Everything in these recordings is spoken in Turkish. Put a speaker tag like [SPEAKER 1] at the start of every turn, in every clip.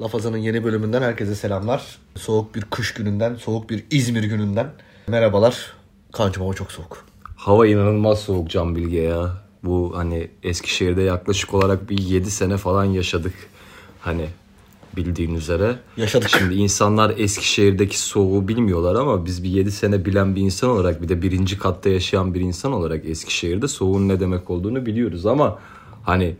[SPEAKER 1] Lafazan'ın yeni bölümünden herkese selamlar. Soğuk bir kış gününden, soğuk bir İzmir gününden. Merhabalar. Kancım hava çok soğuk.
[SPEAKER 2] Hava inanılmaz soğuk Can Bilge ya. Bu hani Eskişehir'de yaklaşık olarak bir 7 sene falan yaşadık. Hani bildiğin üzere.
[SPEAKER 1] Yaşadık.
[SPEAKER 2] Şimdi insanlar Eskişehir'deki soğuğu bilmiyorlar ama biz bir 7 sene bilen bir insan olarak bir de birinci katta yaşayan bir insan olarak Eskişehir'de soğuğun ne demek olduğunu biliyoruz ama hani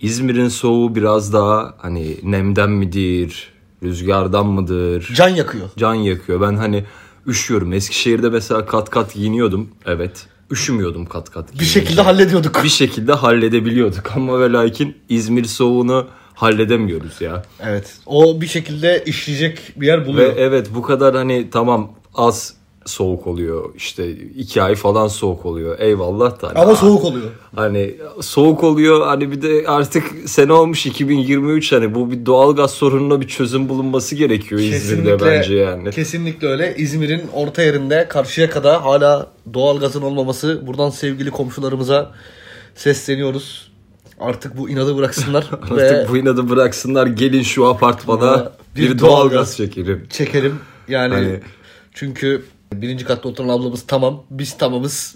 [SPEAKER 2] İzmir'in soğuğu biraz daha hani nemden midir, rüzgardan mıdır?
[SPEAKER 1] Can yakıyor.
[SPEAKER 2] can yakıyor. Ben hani üşüyorum. Eskişehir'de mesela kat kat giyiniyordum. Evet. Üşümüyordum kat kat.
[SPEAKER 1] Bir
[SPEAKER 2] giyiniyordum.
[SPEAKER 1] şekilde hallediyorduk.
[SPEAKER 2] bir şekilde halledebiliyorduk ama ve lakin İzmir soğuğunu halledemiyoruz ya.
[SPEAKER 1] Evet. O bir şekilde işleyecek bir yer
[SPEAKER 2] Ve
[SPEAKER 1] buluyor.
[SPEAKER 2] evet bu kadar hani tamam az soğuk oluyor. İşte iki ay falan soğuk oluyor. Eyvallah da. hani-
[SPEAKER 1] Ama soğuk oluyor.
[SPEAKER 2] Hani soğuk oluyor hani bir de artık sene olmuş 2023 hani bu bir doğalgaz sorununa bir çözüm bulunması gerekiyor İzmir'de bence yani.
[SPEAKER 1] Kesinlikle öyle. İzmir'in orta yerinde karşıya kadar hala doğalgazın olmaması. Buradan sevgili komşularımıza sesleniyoruz. Artık bu inadı bıraksınlar ve
[SPEAKER 2] Artık bu inadı bıraksınlar gelin şu apartmana
[SPEAKER 1] Bana
[SPEAKER 2] bir,
[SPEAKER 1] bir doğalgaz.
[SPEAKER 2] doğalgaz çekelim.
[SPEAKER 1] çekelim. Yani
[SPEAKER 2] Hani-
[SPEAKER 1] çünkü birinci katta oturan ablamız tamam. Biz tamamız.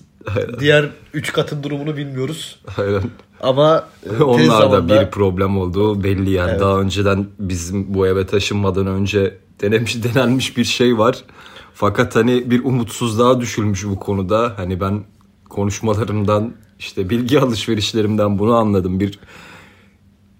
[SPEAKER 1] Diğer üç katın durumunu bilmiyoruz.
[SPEAKER 2] Aynen.
[SPEAKER 1] Ama e, tez
[SPEAKER 2] Onlar da
[SPEAKER 1] zamanda
[SPEAKER 2] bir problem olduğu belli yani. Daha önceden bizim bu eve taşınmadan önce denemiş denenmiş bir şey var. Fakat hani bir umutsuzluğa düşülmüş bu konuda. Hani ben konuşmalarımdan işte bilgi alışverişlerimden bunu anladım. Bir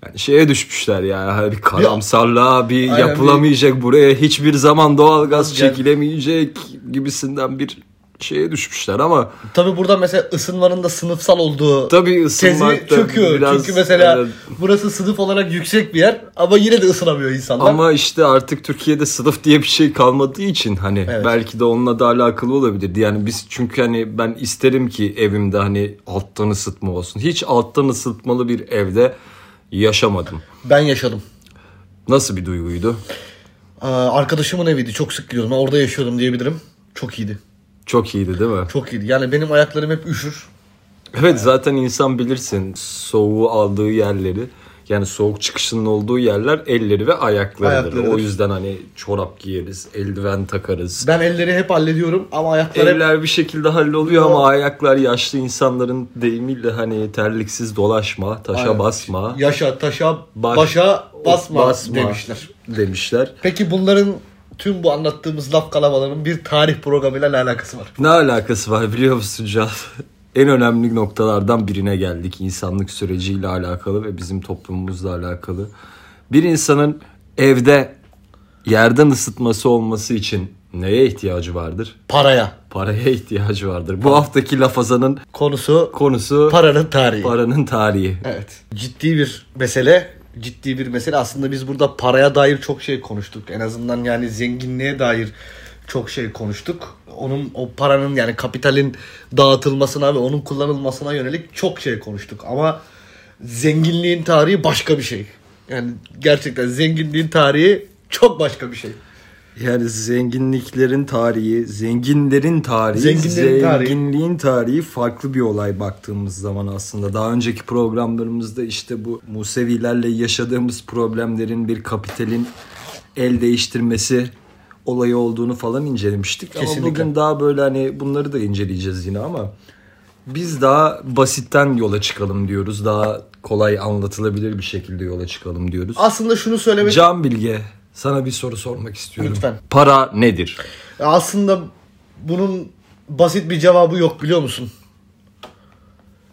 [SPEAKER 2] yani şeye düşmüşler yani hani bir karamsarlığa bir
[SPEAKER 1] Aynen, bir-
[SPEAKER 2] yapılamayacak buraya hiçbir zaman doğalgaz
[SPEAKER 1] Yani-
[SPEAKER 2] çekilemeyecek gibisinden bir şeye düşmüşler ama
[SPEAKER 1] Tabi burada mesela ısınmanın da sınıfsal olduğu
[SPEAKER 2] tabii
[SPEAKER 1] tezi
[SPEAKER 2] ısınmak da
[SPEAKER 1] çöküyor.
[SPEAKER 2] biraz
[SPEAKER 1] Çünkü mesela
[SPEAKER 2] evet,
[SPEAKER 1] burası sınıf olarak yüksek bir yer ama yine de ısınamıyor insanlar.
[SPEAKER 2] Ama işte artık Türkiye'de sınıf diye bir şey kalmadığı için hani
[SPEAKER 1] Evet.
[SPEAKER 2] belki de onunla da alakalı olabilirdi. Yani biz çünkü hani ben isterim ki evimde hani alttan ısıtma olsun. Hiç alttan ısıtmalı bir evde yaşamadım.
[SPEAKER 1] Ben yaşadım.
[SPEAKER 2] Nasıl bir duyguydu?
[SPEAKER 1] Ee, arkadaşımın eviydi. Çok sık gidiyordum. Orada yaşıyordum diyebilirim. Çok iyiydi.
[SPEAKER 2] Çok iyiydi değil mi?
[SPEAKER 1] Çok iyiydi. Yani benim ayaklarım hep üşür.
[SPEAKER 2] Evet zaten insan bilirsin soğuğu aldığı yerleri yani soğuk çıkışının olduğu yerler elleri ve ayaklarıdır.
[SPEAKER 1] Ayaklarıdır.
[SPEAKER 2] O yüzden hani çorap giyeriz, eldiven takarız.
[SPEAKER 1] Ben elleri hep hallediyorum ama ayaklar hep...
[SPEAKER 2] Eller bir şekilde halloluyor ama ayaklar yaşlı insanların deyimiyle hani terliksiz dolaşma, taşa
[SPEAKER 1] Aynen.
[SPEAKER 2] basma,
[SPEAKER 1] Yaşa, taşa,
[SPEAKER 2] baş-
[SPEAKER 1] başa basma,
[SPEAKER 2] basma
[SPEAKER 1] demişler.
[SPEAKER 2] demişler.
[SPEAKER 1] Peki bunların tüm bu anlattığımız laf kalabalarının bir tarih programıyla ne alakası var?
[SPEAKER 2] Ne alakası var biliyor musun Can? En önemli noktalardan birine geldik insanlık süreciyle alakalı ve bizim toplumumuzla alakalı. Bir insanın evde yerden ısıtması olması için neye ihtiyacı vardır?
[SPEAKER 1] Paraya.
[SPEAKER 2] Paraya ihtiyacı vardır. Bu haftaki lafazanın
[SPEAKER 1] Konusu
[SPEAKER 2] konusu
[SPEAKER 1] paranın tarihi.
[SPEAKER 2] paranın tarihi.
[SPEAKER 1] Evet. Ciddi bir mesele. Ciddi bir mesele. Aslında biz burada paraya dair çok şey konuştuk. En azından yani zenginliğe dair çok şey konuştuk. Onun o paranın yani kapitalin dağıtılmasına ve onun kullanılmasına yönelik çok şey konuştuk. Ama zenginliğin tarihi başka bir şey. Yani gerçekten zenginliğin tarihi çok başka bir şey.
[SPEAKER 2] Yani zenginliklerin tarihi, zenginlerin tarihi,
[SPEAKER 1] Zenginlerin tarihi.
[SPEAKER 2] zenginliğin tarihi. farklı bir olay baktığımız zaman aslında. Daha önceki programlarımızda işte bu Musevilerle yaşadığımız problemlerin bir kapitalin el değiştirmesi olayı olduğunu falan incelemiştik.
[SPEAKER 1] Kesinlikle.
[SPEAKER 2] Ama bugün daha böyle hani bunları da inceleyeceğiz yine ama biz daha basitten yola çıkalım diyoruz. Daha kolay anlatılabilir bir şekilde yola çıkalım diyoruz.
[SPEAKER 1] Aslında şunu söylemek
[SPEAKER 2] Can Bilge sana bir soru sormak istiyorum.
[SPEAKER 1] Lütfen.
[SPEAKER 2] Para nedir?
[SPEAKER 1] E, Aslında bunun basit bir cevabı yok biliyor musun?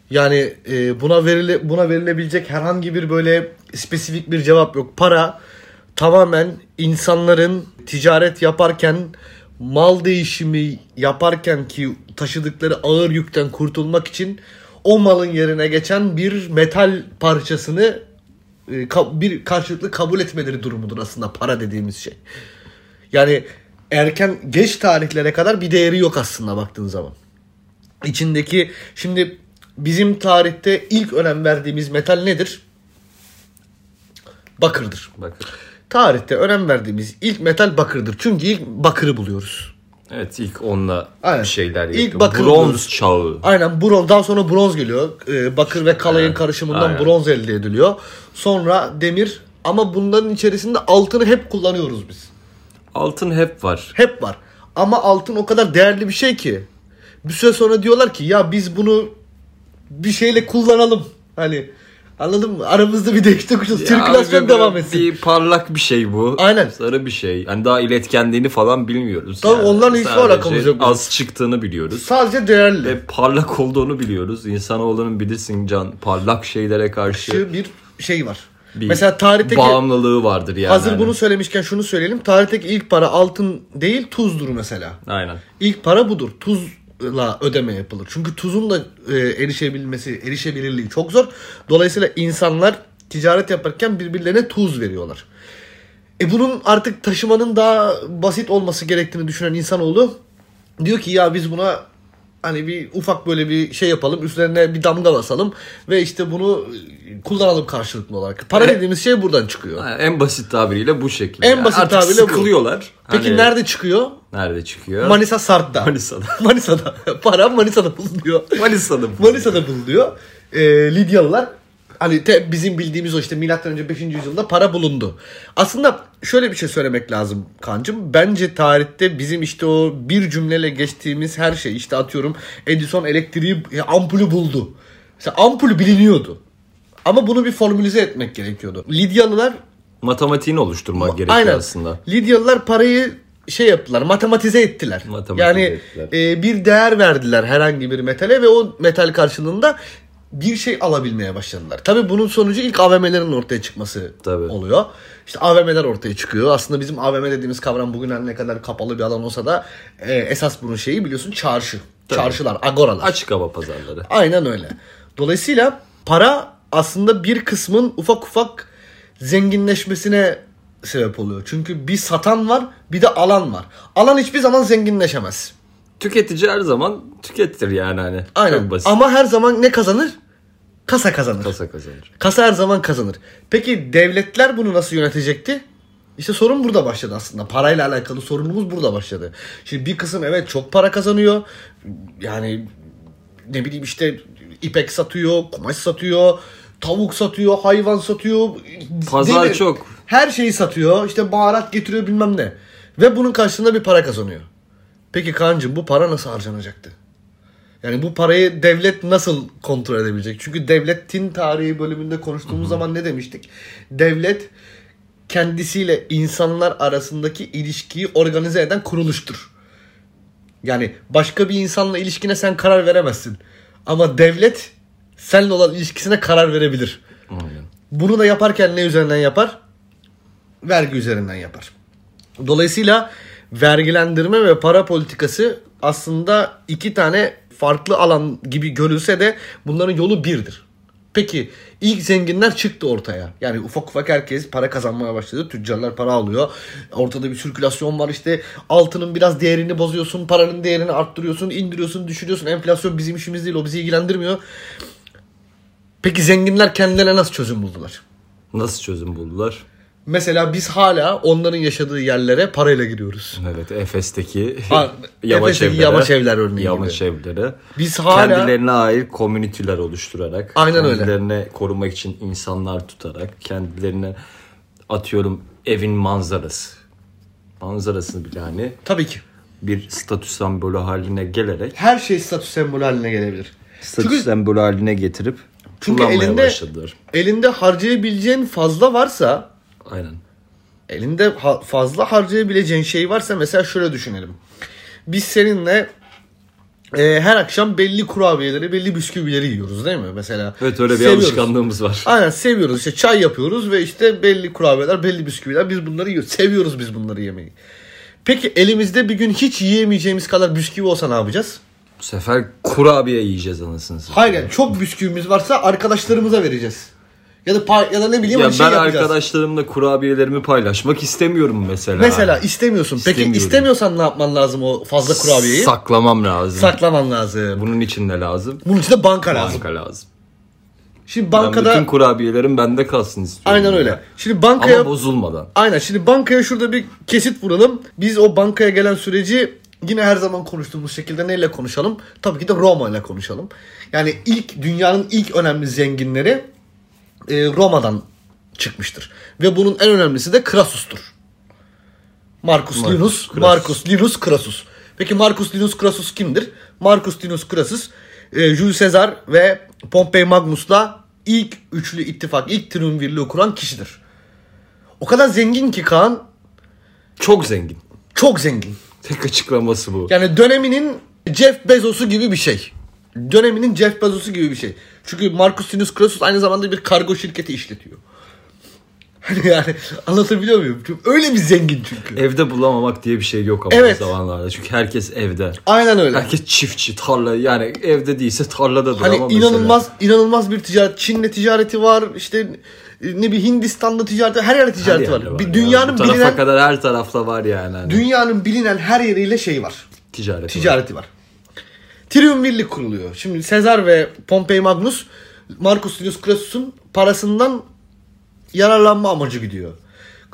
[SPEAKER 1] Yani e, buna verile buna verilebilecek herhangi bir böyle spesifik bir cevap yok. Para tamamen insanların ticaret yaparken mal değişimi yaparken ki taşıdıkları ağır yükten kurtulmak için o malın yerine geçen bir metal parçasını e, ka- bir karşılıklı kabul etmeleri durumudur aslında para dediğimiz şey. Yani erken geç tarihlere kadar bir değeri yok aslında baktığın zaman. İçindeki şimdi bizim tarihte ilk önem verdiğimiz metal nedir? Bakırdır.
[SPEAKER 2] Bakın.
[SPEAKER 1] Tarihte önem verdiğimiz ilk metal bakırdır. Çünkü ilk bakırı buluyoruz.
[SPEAKER 2] Evet ilk onunla
[SPEAKER 1] Aynen.
[SPEAKER 2] bir şeyler
[SPEAKER 1] İlk
[SPEAKER 2] yapıyor.
[SPEAKER 1] bakın-
[SPEAKER 2] Bronz çağı.
[SPEAKER 1] Aynen bronz daha sonra bronz geliyor. Ee, bakır ve kalayın karışımından
[SPEAKER 2] Aynen.
[SPEAKER 1] bronz elde ediliyor. Sonra demir Ama bunların içerisinde altını hep kullanıyoruz biz.
[SPEAKER 2] Altın hep var.
[SPEAKER 1] Hep var. Ama altın o kadar değerli bir şey ki. Bir süre sonra diyorlar ki ya biz bunu bir şeyle kullanalım. Hani anladın mı? Aramızda bir değiş tokuş olsun. Sirkülasyon
[SPEAKER 2] abi,
[SPEAKER 1] devam
[SPEAKER 2] bir-
[SPEAKER 1] etsin.
[SPEAKER 2] Bir parlak bir şey bu.
[SPEAKER 1] Aynen.
[SPEAKER 2] Sarı bir şey. Hani daha iletkenliğini falan bilmiyoruz.
[SPEAKER 1] Tabii onlarla hiçbir
[SPEAKER 2] Sadece
[SPEAKER 1] alakamız yok.
[SPEAKER 2] Az çıktığını biliyoruz.
[SPEAKER 1] Sadece değerli.
[SPEAKER 2] Ve parlak olduğunu biliyoruz. İnsanoğlunun bilirsin can parlak şeylere karşı
[SPEAKER 1] Şu bir şey var.
[SPEAKER 2] bir
[SPEAKER 1] Mesela tarihteki
[SPEAKER 2] bağımlılığı vardır yani.
[SPEAKER 1] hazır
[SPEAKER 2] Hani-
[SPEAKER 1] bunu söylemişken şunu söyleyelim. Tarihteki ilk para altın değil tuzdur mesela.
[SPEAKER 2] Aynen.
[SPEAKER 1] İlk para budur. Tuzla ödeme yapılır. Çünkü tuzun da e, erişebilmesi, erişebilirliği çok zor. Dolayısıyla insanlar ticaret yaparken birbirlerine tuz veriyorlar. E bunun artık taşımanın daha basit olması gerektiğini düşünen insanoğlu diyor ki ya biz buna hani bir ufak böyle bir şey yapalım üstlerine bir damga basalım ve işte bunu e, kullanalım karşılıklı olarak. Para dediğimiz şey buradan çıkıyor.
[SPEAKER 2] Ha, En basit tabiriyle bu şekilde.
[SPEAKER 1] En basit
[SPEAKER 2] Artık
[SPEAKER 1] tabiriyle bu.
[SPEAKER 2] sıkılıyorlar.
[SPEAKER 1] Peki
[SPEAKER 2] Hani-
[SPEAKER 1] nerede çıkıyor?
[SPEAKER 2] Nerede çıkıyor?
[SPEAKER 1] Manisa Sart'ta.
[SPEAKER 2] Manisa'da.
[SPEAKER 1] Manisa'da. Para Manisa'da bulunuyor.
[SPEAKER 2] Manisa'da. bu.
[SPEAKER 1] Manisa'da bulunuyor. Ee, Lidyalılar hani te- bizim bildiğimiz o işte milattan önce 5. yüzyılda para bulundu. Aslında şöyle bir şey söylemek lazım kancım. Bence tarihte bizim işte o bir cümleyle geçtiğimiz her şey işte atıyorum Edison elektriği e, ampulü buldu. Mesela ampul biliniyordu. Ama bunu bir formülize etmek gerekiyordu. Lidyalılar
[SPEAKER 2] Matematiğini oluşturmak gerekiyor
[SPEAKER 1] Aynen.
[SPEAKER 2] aslında.
[SPEAKER 1] Lidyalılar parayı şey yaptılar, matematize ettiler.
[SPEAKER 2] Matematize
[SPEAKER 1] yani
[SPEAKER 2] ettiler.
[SPEAKER 1] e, bir değer verdiler herhangi bir metale ve o metal karşılığında bir şey alabilmeye başladılar. Tabii bunun sonucu ilk AVM'lerin ortaya çıkması
[SPEAKER 2] Tabii.
[SPEAKER 1] oluyor. İşte AVM'ler ortaya çıkıyor. Aslında bizim AVM dediğimiz kavram bugün her ne kadar kapalı bir alan olsa da e, esas bunun şeyi biliyorsun çarşı. Çarşılar, agoralar.
[SPEAKER 2] Açık hava pazarları.
[SPEAKER 1] Aynen öyle. Dolayısıyla para aslında bir kısmın ufak ufak zenginleşmesine sebep oluyor. Çünkü bir satan var bir de alan var. Alan hiçbir zaman zenginleşemez.
[SPEAKER 2] Tüketici her zaman tüketir yani hani.
[SPEAKER 1] Aynen.
[SPEAKER 2] Çok basit.
[SPEAKER 1] Ama her zaman ne kazanır? Kasa kazanır.
[SPEAKER 2] Kasa kazanır.
[SPEAKER 1] Kasa her zaman kazanır. Peki devletler bunu nasıl yönetecekti? İşte sorun burada başladı aslında. Parayla alakalı sorunumuz burada başladı. Şimdi bir kısım evet çok para kazanıyor. Yani ne bileyim işte ipek satıyor, kumaş satıyor, tavuk satıyor, hayvan satıyor.
[SPEAKER 2] Pazar
[SPEAKER 1] Deli-
[SPEAKER 2] çok.
[SPEAKER 1] Her şeyi satıyor. İşte baharat getiriyor bilmem ne. Ve bunun karşılığında bir para kazanıyor. Peki Kaan'cığım bu para nasıl harcanacaktı? Yani bu parayı devlet nasıl kontrol edebilecek? Çünkü devletin tarihi bölümünde konuştuğumuz zaman ne demiştik? Devlet kendisiyle insanlar arasındaki ilişkiyi organize eden kuruluştur. Yani başka bir insanla ilişkine sen karar veremezsin. Ama devlet seninle olan ilişkisine karar verebilir.
[SPEAKER 2] Aynen.
[SPEAKER 1] Bunu da yaparken ne üzerinden yapar? Vergi üzerinden yapar. Dolayısıyla vergilendirme ve para politikası aslında iki tane farklı alan gibi görülse de bunların yolu birdir. Peki ilk zenginler çıktı ortaya. Yani ufak ufak herkes para kazanmaya başladı. Tüccarlar para alıyor. Ortada bir sirkülasyon var işte. Altının biraz değerini bozuyorsun. Paranın değerini arttırıyorsun. indiriyorsun, düşürüyorsun. Enflasyon bizim işimiz değil. O bizi ilgilendirmiyor. Peki zenginler kendilerine nasıl çözüm buldular?
[SPEAKER 2] Nasıl çözüm buldular?
[SPEAKER 1] Mesela biz hala onların yaşadığı yerlere parayla giriyoruz.
[SPEAKER 2] Evet Efes'teki
[SPEAKER 1] Ha,
[SPEAKER 2] yamaç
[SPEAKER 1] Efes'teki
[SPEAKER 2] evleri.
[SPEAKER 1] yamaç evler örneği
[SPEAKER 2] Yamaç evleri.
[SPEAKER 1] Biz hala-
[SPEAKER 2] Kendilerine ait komünitüler oluşturarak.
[SPEAKER 1] Aynen öyle.
[SPEAKER 2] Kendilerine korumak için insanlar tutarak. Kendilerine atıyorum evin manzarası. Manzarasını bile hani
[SPEAKER 1] Tabii ki.
[SPEAKER 2] bir statü sembolü haline gelerek.
[SPEAKER 1] Her şey statü sembolü haline gelebilir.
[SPEAKER 2] Statü
[SPEAKER 1] Çünkü-
[SPEAKER 2] sembolü haline getirip
[SPEAKER 1] Çünkü
[SPEAKER 2] kullanmaya
[SPEAKER 1] elinde-
[SPEAKER 2] başladılar.
[SPEAKER 1] Elinde harcayabileceğin fazla varsa,
[SPEAKER 2] Aynen.
[SPEAKER 1] elinde ha- fazla harcayabileceğin şey varsa mesela şöyle düşünelim. Biz seninle e, her akşam belli kurabiyeleri, belli bisküvileri yiyoruz değil mi? Mesela
[SPEAKER 2] Evet öyle bir
[SPEAKER 1] seviyoruz.
[SPEAKER 2] alışkanlığımız var.
[SPEAKER 1] Aynen seviyoruz işte çay yapıyoruz ve işte belli kurabiyeler belli bisküviler biz bunları yiyoruz. Seviyoruz biz bunları yemeyi. Peki elimizde bir gün hiç yiyemeyeceğimiz kadar bisküvi olsa ne yapacağız?
[SPEAKER 2] Bu sefer kurabiye yiyeceğiz anasını satayım.
[SPEAKER 1] Hayır çok bisküvimiz varsa arkadaşlarımıza vereceğiz. Ya da pa- ya da ne bileyim
[SPEAKER 2] Ya
[SPEAKER 1] bir şey
[SPEAKER 2] ben
[SPEAKER 1] yapacağız.
[SPEAKER 2] arkadaşlarımla kurabiyelerimi paylaşmak istemiyorum mesela.
[SPEAKER 1] Mesela istemiyorsun. Peki
[SPEAKER 2] İstemiyorum.
[SPEAKER 1] istemiyorsan ne yapman lazım o fazla kurabiyeyi?
[SPEAKER 2] saklamam lazım.
[SPEAKER 1] Saklaman lazım.
[SPEAKER 2] Bunun için ne lazım?
[SPEAKER 1] Bunun için de banka lazım.
[SPEAKER 2] Banka lazım.
[SPEAKER 1] Şimdi
[SPEAKER 2] Ben bütün
[SPEAKER 1] bankada
[SPEAKER 2] kurabiyelerim bende kalsın istiyorum.
[SPEAKER 1] aynen
[SPEAKER 2] ya.
[SPEAKER 1] öyle. Şimdi
[SPEAKER 2] Ama
[SPEAKER 1] bankaya
[SPEAKER 2] bozulmadan.
[SPEAKER 1] Aynen şimdi bankaya şurada bir kesit vuralım. Biz o bankaya gelen süreci yine her zaman konuştuğumuz şekilde neyle konuşalım? Tabii ki de Roma ile konuşalım. Yani ilk dünyanın ilk önemli zenginleri e, Roma'dan çıkmıştır. Ve bunun en önemlisi de Krasus'tur. Marcus,
[SPEAKER 2] Marcus
[SPEAKER 1] Linus,
[SPEAKER 2] Crassus.
[SPEAKER 1] Marcus Linus Crassus. Peki Marcus Linus Crassus kimdir? Marcus Linus Crassus, e, Julius Caesar ve Pompey Magnus'la ilk üçlü ittifak, ilk triumvirliği kuran kişidir. O kadar zengin ki Kaan,
[SPEAKER 2] Çok zengin.
[SPEAKER 1] çok zengin.
[SPEAKER 2] Tek açıklaması bu.
[SPEAKER 1] Yani döneminin Jeff Bezos'u gibi bir şey. Döneminin Jeff Bezos'u gibi bir şey. Çünkü Marcus Linus Crassus aynı zamanda bir kargo şirketi işletiyor. Hani yani anlatabiliyor muyum? Çünkü öyle bir zengin çünkü.
[SPEAKER 2] Evde bulamamak diye bir şey yok ama
[SPEAKER 1] Evet.
[SPEAKER 2] o zamanlarda. Çünkü herkes evde.
[SPEAKER 1] Aynen öyle.
[SPEAKER 2] Herkes çiftçi, tarla yani evde değilse tarlada
[SPEAKER 1] Hani
[SPEAKER 2] duramam
[SPEAKER 1] inanılmaz inanılmaz bir ticaret. Çin'le tijareti var. işte ne bir Hindistan'la ticareti, her yerde ticareti var. Bir dünyanın
[SPEAKER 2] bilinen...
[SPEAKER 1] bilinen
[SPEAKER 2] tarafa kadar her tarafta var yani. Hani
[SPEAKER 1] dünyanın bilinen her yeriyle şey var.
[SPEAKER 2] ticaret.
[SPEAKER 1] ticareti var. Triumvirlik kuruluyor. Şimdi Sezar ve Pompey Magnus Marcus Tullius Crassus'un parasından yararlanma amacı gidiyor.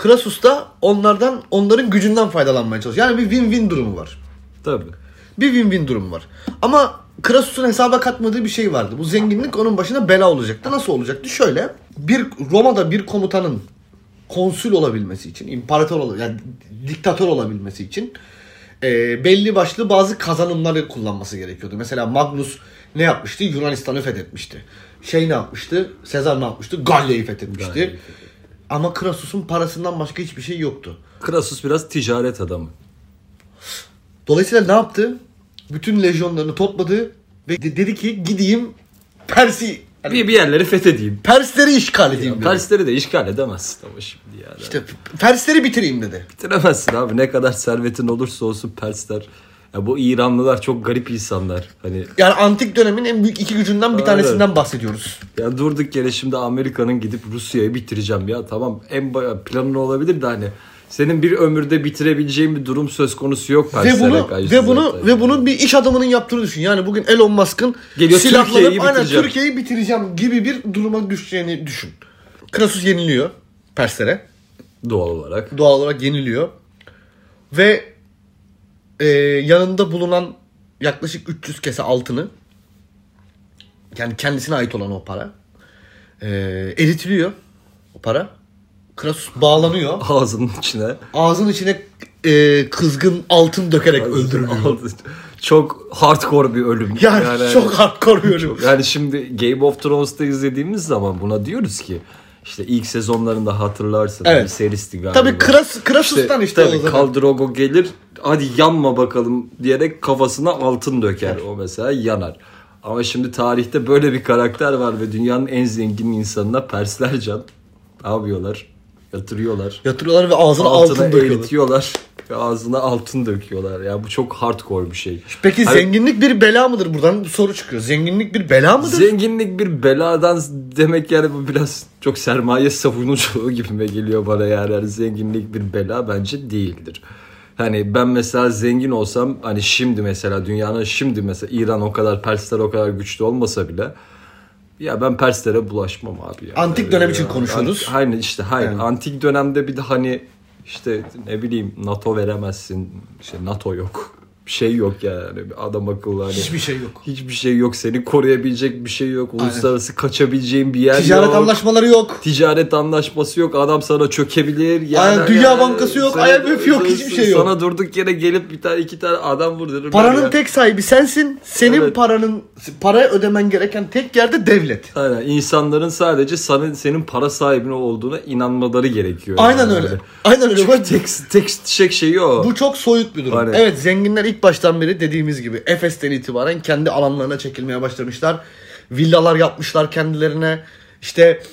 [SPEAKER 1] Crassus da onlardan onların gücünden faydalanmaya çalışıyor. Yani bir win-win durumu var.
[SPEAKER 2] Tabii.
[SPEAKER 1] Bir win-win durumu var. Ama Crassus'un hesaba katmadığı bir şey vardı. Bu zenginlik onun başına bela olacaktı. Nasıl olacaktı? Şöyle. Bir Roma'da bir komutanın konsül olabilmesi için, imparator olabilmesi, yani diktatör olabilmesi için e, belli başlı bazı kazanımları kullanması gerekiyordu. Mesela Magnus ne yapmıştı? Yunanistan'ı fethetmişti. Şey ne yapmıştı? Sezar ne yapmıştı? Galya'yı fethetmişti.
[SPEAKER 2] Galya'yı
[SPEAKER 1] Ama Crassus'un parasından başka hiçbir şey yoktu.
[SPEAKER 2] Krasus biraz ticaret adamı.
[SPEAKER 1] Dolayısıyla ne yaptı? Bütün lejyonlarını topladı ve de- dedi ki gideyim Persi yani
[SPEAKER 2] Bir, bir yerleri fethedeyim.
[SPEAKER 1] Persleri işgal edeyim dedi.
[SPEAKER 2] Persleri de işgal edemezsin ama şimdi yani.
[SPEAKER 1] İşte P- Persleri bitireyim dedi.
[SPEAKER 2] Bitiremezsin abi ne kadar servetin olursa olsun Persler. Ya bu İranlılar çok garip insanlar. Hani
[SPEAKER 1] Yani antik dönemin en büyük iki gücünden bir
[SPEAKER 2] Aynen.
[SPEAKER 1] tanesinden bahsediyoruz.
[SPEAKER 2] ya durduk yere şimdi Amerika'nın gidip Rusya'yı bitireceğim ya tamam en ba- planın olabilir de hani senin bir ömürde bitirebileceğin bir durum söz konusu yok
[SPEAKER 1] Ve
[SPEAKER 2] Perslere
[SPEAKER 1] bunu
[SPEAKER 2] karşı
[SPEAKER 1] ve bunu
[SPEAKER 2] zaten.
[SPEAKER 1] ve bunu bir iş adamının yaptığını düşün. Yani bugün Elon Musk'ın
[SPEAKER 2] Geliyor,
[SPEAKER 1] silahlanıp
[SPEAKER 2] Türkiye'yi
[SPEAKER 1] aynen
[SPEAKER 2] bitireceğim.
[SPEAKER 1] Türkiye'yi bitireceğim gibi bir duruma düşeceğini düşün. Krasus yeniliyor Perslere.
[SPEAKER 2] doğal olarak
[SPEAKER 1] doğal olarak yeniliyor. Ve e, yanında bulunan yaklaşık 300 kese altını yani kendisine ait olan o para e, eritiliyor o para. Krasus bağlanıyor.
[SPEAKER 2] ağzının içine
[SPEAKER 1] Ağzının içine e, kızgın altın dökerek öldürülüyor.
[SPEAKER 2] aldı. Çok hardcore bir ölüm. hani
[SPEAKER 1] Yani, çok hardcore bir ölüm.
[SPEAKER 2] Yani şimdi Game of Thrones'ta izlediğimiz zaman buna diyoruz ki işte ilk sezonlarında hatırlarsın
[SPEAKER 1] Evet.
[SPEAKER 2] bir seristi galiba.
[SPEAKER 1] Tabii Kras, Krasus'tan işte,
[SPEAKER 2] tabii
[SPEAKER 1] o zaman.
[SPEAKER 2] Khal Drogo gelir hadi yanma bakalım diyerek kafasına altın döker o mesela yanar. Ama şimdi tarihte böyle bir karakter var ve dünyanın en zengin insanına Persler can ne yapıyorlar? Yatırıyorlar.
[SPEAKER 1] Yatırıyorlar ve ağzına
[SPEAKER 2] Altına
[SPEAKER 1] altın döküyorlar.
[SPEAKER 2] eritiyorlar. ve Ağzına altın döküyorlar. Ya bu çok hardcore bir şey.
[SPEAKER 1] Peki
[SPEAKER 2] Hani
[SPEAKER 1] zenginlik bir bela mıdır? Buradan bir soru çıkıyor. Zenginlik bir bela mıdır?
[SPEAKER 2] Zenginlik bir beladan demek yani bu biraz çok sermaye savunuculuğu gibime geliyor bana yani. Yani zenginlik bir bela bence değildir. Hani ben mesela zengin olsam hani şimdi mesela dünyanın şimdi mesela İran o kadar Persler o kadar güçlü olmasa bile ya ben Perslere bulaşmam abi. ya.
[SPEAKER 1] Antik dönem için konuşuyoruz.
[SPEAKER 2] Ant- Aynen işte hayır.
[SPEAKER 1] Yani.
[SPEAKER 2] Antik dönemde bir de hani işte ne bileyim NATO veremezsin. İşte NATO yok. Bir şey yok yani. Adam akıllı hani.
[SPEAKER 1] Hiçbir şey yok.
[SPEAKER 2] Hiçbir şey yok. Seni koruyabilecek bir şey yok. Uluslararası kaçabileceğin bir yer
[SPEAKER 1] Ticaret
[SPEAKER 2] yok.
[SPEAKER 1] anlaşmaları yok.
[SPEAKER 2] Ticaret anlaşması yok. Adam sana çökebilir. Yani,
[SPEAKER 1] Aynen, Dünya Bankası yok, IMF yok, hiçbir şey yok.
[SPEAKER 2] Sana durduk yere gelip bir tane iki tane adam vurdurur.
[SPEAKER 1] Paranın tek sahibi sensin. Senin
[SPEAKER 2] Evet.
[SPEAKER 1] paranın paraya ödemen gereken tek yerde devlet.
[SPEAKER 2] Aynen. insanların sadece senin, senin para sahibine olduğuna inanmaları gerekiyor.
[SPEAKER 1] Aynen
[SPEAKER 2] yani.
[SPEAKER 1] öyle. Aynen öyle. Bu,
[SPEAKER 2] Tek, tek şey şeyi o.
[SPEAKER 1] bu çok soyut bir durum.
[SPEAKER 2] Aynen.
[SPEAKER 1] Evet zenginler ilk baştan beri dediğimiz gibi Efes'ten itibaren kendi alanlarına çekilmeye başlamışlar. Villalar yapmışlar kendilerine. İşte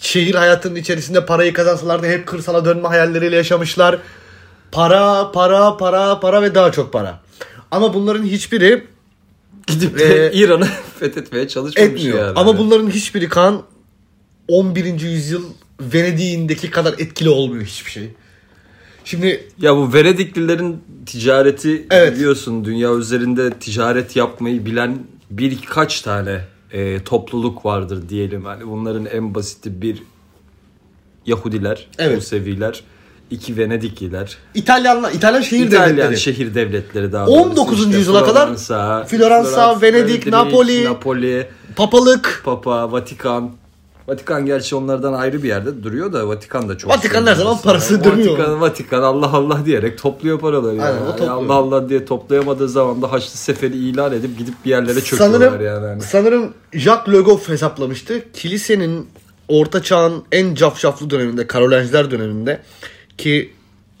[SPEAKER 1] şehir hayatının içerisinde parayı kazansalar da hep kırsala dönme hayalleriyle yaşamışlar. Para, para, para, para ve daha çok para. Ama bunların hiçbiri
[SPEAKER 2] Gidip de
[SPEAKER 1] Ee,
[SPEAKER 2] İran'ı fethetmeye çalışmamış
[SPEAKER 1] etmiyor.
[SPEAKER 2] yani.
[SPEAKER 1] Ama bunların hiçbiri kan 11. yüzyıl Venedik'indeki kadar etkili olmuyor hiçbir şey. Şimdi
[SPEAKER 2] Ya bu Venediklilerin ticareti
[SPEAKER 1] Evet.
[SPEAKER 2] biliyorsun dünya üzerinde ticaret yapmayı bilen birkaç tane e, topluluk vardır diyelim. Hani bunların en basiti bir Yahudiler,
[SPEAKER 1] Evet.
[SPEAKER 2] Museviler, iki Venedikliler,
[SPEAKER 1] İtalyanlar, İtalyan şehir
[SPEAKER 2] İtalyan
[SPEAKER 1] devletleri.
[SPEAKER 2] şehir devletleri daha
[SPEAKER 1] 19.
[SPEAKER 2] doğrusu.
[SPEAKER 1] yüzyıla kadar
[SPEAKER 2] Floransa,
[SPEAKER 1] Floransa, Venedik, Napoli-
[SPEAKER 2] Napoli,
[SPEAKER 1] Papalık,
[SPEAKER 2] Papa, Vatikan, Vatikan gerçi onlardan ayrı bir yerde duruyor da Vatikan da çok.
[SPEAKER 1] Vatikan her zaman parası
[SPEAKER 2] Vatikan,
[SPEAKER 1] dönüyor.
[SPEAKER 2] Vatikan, Vatikan Allah Allah diyerek topluyor paraları.
[SPEAKER 1] Aynen,
[SPEAKER 2] yani.
[SPEAKER 1] o
[SPEAKER 2] Yani
[SPEAKER 1] topluyor.
[SPEAKER 2] Allah Allah diye toplayamadığı zaman da Haçlı Seferi ilan edip gidip bir yerlere çöküyorlar
[SPEAKER 1] sanırım,
[SPEAKER 2] yani. Hani
[SPEAKER 1] sanırım Jacques Le Goff hesaplamıştı. Kilisenin orta çağın en cafcaflı döneminde, Karolinjiler döneminde ki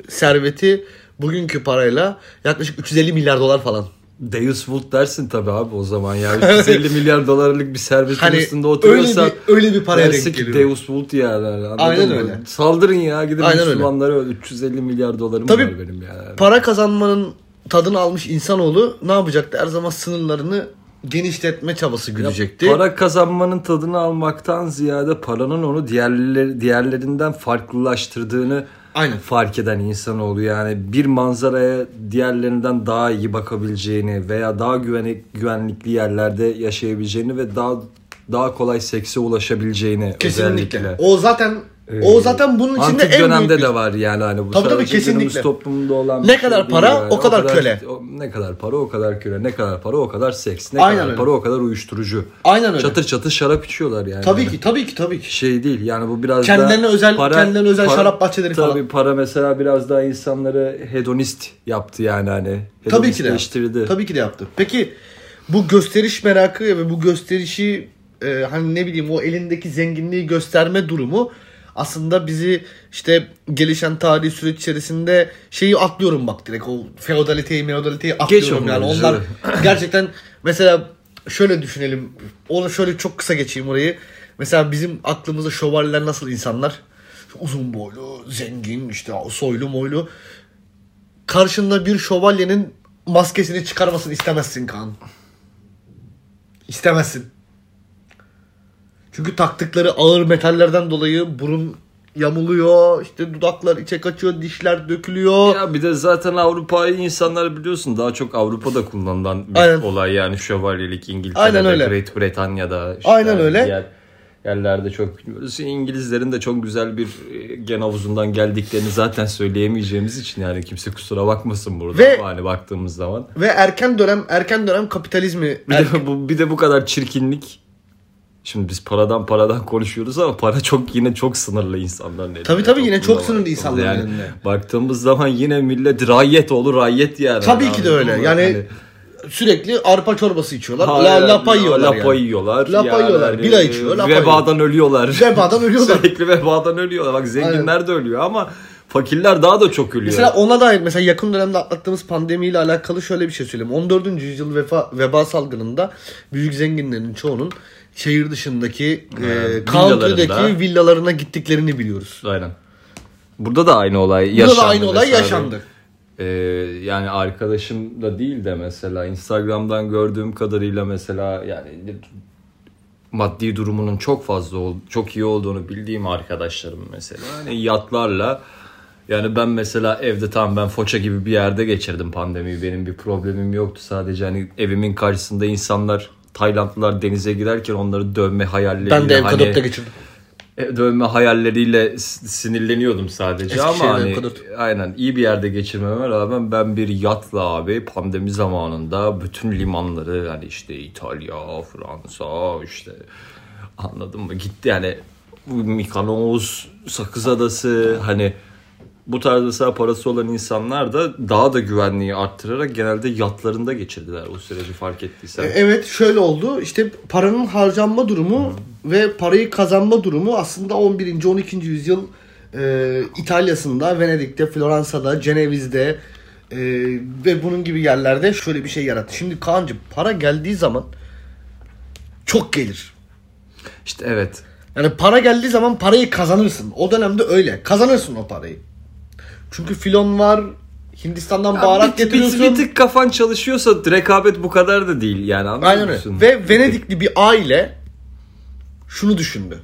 [SPEAKER 1] serveti bugünkü parayla yaklaşık 350 milyar dolar falan.
[SPEAKER 2] Deus Vult dersin tabii abi o zaman ya. 350 milyar dolarlık bir servetin
[SPEAKER 1] Hani
[SPEAKER 2] üstünde oturuyorsan.
[SPEAKER 1] öyle bir- öyle bir paraya
[SPEAKER 2] dersin
[SPEAKER 1] denk
[SPEAKER 2] ki
[SPEAKER 1] geliyor.
[SPEAKER 2] Deus Vult yani. hani anladın
[SPEAKER 1] Aynen
[SPEAKER 2] mı?
[SPEAKER 1] öyle.
[SPEAKER 2] Saldırın ya gidin
[SPEAKER 1] Aynen öyle.
[SPEAKER 2] Müslümanlara öyle. 350 milyar dolarım
[SPEAKER 1] Tabii.
[SPEAKER 2] var benim yani.
[SPEAKER 1] Para kazanmanın tadını almış insanoğlu ne yapacaktı? Her zaman sınırlarını genişletme çabası güdecekti.
[SPEAKER 2] Para kazanmanın tadını almaktan ziyade paranın onu diğerleri, diğerlerinden farklılaştırdığını
[SPEAKER 1] Aynen.
[SPEAKER 2] fark eden insan oluyor. Yani bir manzaraya diğerlerinden daha iyi bakabileceğini veya daha güvenik, güvenlikli yerlerde yaşayabileceğini ve daha daha kolay sekse ulaşabileceğini
[SPEAKER 1] Kesinlikle.
[SPEAKER 2] özellikle. Ee,
[SPEAKER 1] O zaten o zaten bunun içinde
[SPEAKER 2] Antik
[SPEAKER 1] en
[SPEAKER 2] dönemde
[SPEAKER 1] büyük bir-
[SPEAKER 2] de var yani hani bu
[SPEAKER 1] Tabii tabii,
[SPEAKER 2] sadece
[SPEAKER 1] kesinlikle.
[SPEAKER 2] günümüz toplumunda olan bir
[SPEAKER 1] Ne
[SPEAKER 2] şey
[SPEAKER 1] kadar
[SPEAKER 2] değil
[SPEAKER 1] para, o kadar köle.
[SPEAKER 2] o- ne kadar para o kadar köle. Ne kadar para o kadar seks. Ne
[SPEAKER 1] Aynen
[SPEAKER 2] kadar
[SPEAKER 1] öyle.
[SPEAKER 2] para o kadar uyuşturucu.
[SPEAKER 1] Aynen öyle.
[SPEAKER 2] Çatır çatır şarap içiyorlar yani.
[SPEAKER 1] Tabii
[SPEAKER 2] Hani
[SPEAKER 1] ki tabii ki tabii ki.
[SPEAKER 2] şey değil yani bu biraz
[SPEAKER 1] Kendilerine
[SPEAKER 2] daha
[SPEAKER 1] özel- kendilerine özel şarap bahçeleri
[SPEAKER 2] tabii
[SPEAKER 1] falan.
[SPEAKER 2] para mesela biraz daha insanları hedonist yaptı yani hani.
[SPEAKER 1] Tabii ki de.
[SPEAKER 2] hedonistleştirdi.
[SPEAKER 1] yaptı. Tabii ki de yaptı. Peki bu gösteriş merakı ve bu gösterişi e, hani ne bileyim o elindeki zenginliği gösterme durumu aslında bizi işte gelişen tarihi süreç içerisinde şeyi atlıyorum bak direkt o feodaliteyi meodaliteyi atlıyorum
[SPEAKER 2] onları,
[SPEAKER 1] yani
[SPEAKER 2] bize
[SPEAKER 1] onlar
[SPEAKER 2] de.
[SPEAKER 1] gerçekten mesela şöyle düşünelim onu şöyle çok kısa geçeyim orayı mesela bizim aklımızda şövalyeler nasıl insanlar uzun boylu zengin işte soylu moylu karşında bir şövalyenin maskesini çıkarmasını istemezsin Kaan. İstemezsin. Çünkü taktıkları ağır metallerden dolayı burun yamuluyor, işte dudaklar içe kaçıyor, dişler dökülüyor.
[SPEAKER 2] Ya bir de zaten Avrupa'yı insanlar biliyorsun daha çok Avrupa'da kullanılan bir
[SPEAKER 1] Aynen.
[SPEAKER 2] olay yani şövalyelik İngiltere'de,
[SPEAKER 1] Aynen öyle.
[SPEAKER 2] Great Britanya'da işte
[SPEAKER 1] Aynen öyle.
[SPEAKER 2] diğer yerlerde çok bilmiyoruz. İngilizlerin de çok güzel bir e, gen havuzundan geldiklerini zaten söyleyemeyeceğimiz için yani kimse kusura bakmasın burada
[SPEAKER 1] Ve-
[SPEAKER 2] hani baktığımız zaman.
[SPEAKER 1] Ve erken dönem erken dönem kapitalizmi
[SPEAKER 2] Bir de bu bir de bu kadar çirkinlik. Şimdi biz paradan paradan konuşuyoruz ama para çok yine çok sınırlı insanların elinde.
[SPEAKER 1] Tabii tabii, yine
[SPEAKER 2] Toplumda
[SPEAKER 1] çok sınırlı
[SPEAKER 2] baktığımızda
[SPEAKER 1] insanların
[SPEAKER 2] yani
[SPEAKER 1] elinde.
[SPEAKER 2] Baktığımız zaman yine millet rayet olur rayet yani.
[SPEAKER 1] tabii ki de
[SPEAKER 2] Anladın
[SPEAKER 1] öyle.
[SPEAKER 2] mı?
[SPEAKER 1] Yani
[SPEAKER 2] Hani-
[SPEAKER 1] sürekli arpa çorbası içiyorlar.
[SPEAKER 2] Hayır,
[SPEAKER 1] la, lapa yiyorlar.
[SPEAKER 2] Lapa
[SPEAKER 1] yani.
[SPEAKER 2] yiyorlar. hani
[SPEAKER 1] Lapa yiyorlar, bira içiyor, lapa
[SPEAKER 2] vebadan ölüyorlar.
[SPEAKER 1] Vebadan ölüyorlar.
[SPEAKER 2] Sürekli vebadan ölüyorlar. Bak zenginler de ölüyor ama fakirler daha da çok ölüyor.
[SPEAKER 1] Mesela ona dair mesela yakın dönemde atlattığımız pandemiyle alakalı şöyle bir şey söyleyeyim. 14. yüzyıl vefa, veba salgınında büyük zenginlerin çoğunun şehir dışındaki e, country'deki
[SPEAKER 2] villalarında.
[SPEAKER 1] villalarına gittiklerini biliyoruz.
[SPEAKER 2] Aynen. Burada da aynı olay yaşandı.
[SPEAKER 1] Burada da aynı olay
[SPEAKER 2] mesela.
[SPEAKER 1] yaşandı.
[SPEAKER 2] Ee, yani arkadaşım da değil de mesela Instagram'dan gördüğüm kadarıyla mesela yani maddi durumunun çok fazla ol- çok iyi olduğunu bildiğim arkadaşlarım mesela hani yatlarla yani ben mesela evde tam ben Foça gibi bir yerde geçirdim pandemiyi benim bir problemim yoktu sadece hani evimin karşısında insanlar Taylandlılar denize girerken onları dövme hayalleriyle
[SPEAKER 1] Ben de ev
[SPEAKER 2] hani-
[SPEAKER 1] kadapta geçirdim.
[SPEAKER 2] e, dövme hayalleriyle s- sinirleniyordum sadece
[SPEAKER 1] Eskişehir'de
[SPEAKER 2] ama hani,
[SPEAKER 1] kadar.
[SPEAKER 2] aynen iyi bir yerde geçirmeme rağmen ben bir yatla abi pandemi zamanında bütün limanları hani işte İtalya, Fransa işte anladın mı gitti yani bu Mikonos, Sakız Adası hani bu tarz mesela parası olan insanlar da daha da güvenliği arttırarak genelde yatlarında geçirdiler o süreci fark ettiysen.
[SPEAKER 1] E, Evet şöyle oldu. İşte paranın harcanma durumu ve parayı kazanma durumu aslında 11. 12. yüzyıl e, İtalya'sında, Venedik'te, Floransa'da, Ceneviz'de e, ve bunun gibi yerlerde şöyle bir şey yarattı. Şimdi Kaan'cığım para geldiği zaman çok gelir.
[SPEAKER 2] İşte evet.
[SPEAKER 1] Yani para geldiği zaman parayı kazanırsın. O dönemde öyle. Kazanırsın o parayı. Çünkü filon var. Hindistan'dan
[SPEAKER 2] Baharat
[SPEAKER 1] baharat
[SPEAKER 2] bir,
[SPEAKER 1] getiriyorsun.
[SPEAKER 2] Bir, bir tık kafan çalışıyorsa rekabet bu kadar da değil yani anlıyor
[SPEAKER 1] Aynen öyle.
[SPEAKER 2] musun?
[SPEAKER 1] Ve Venedikli bir aile şunu düşündü.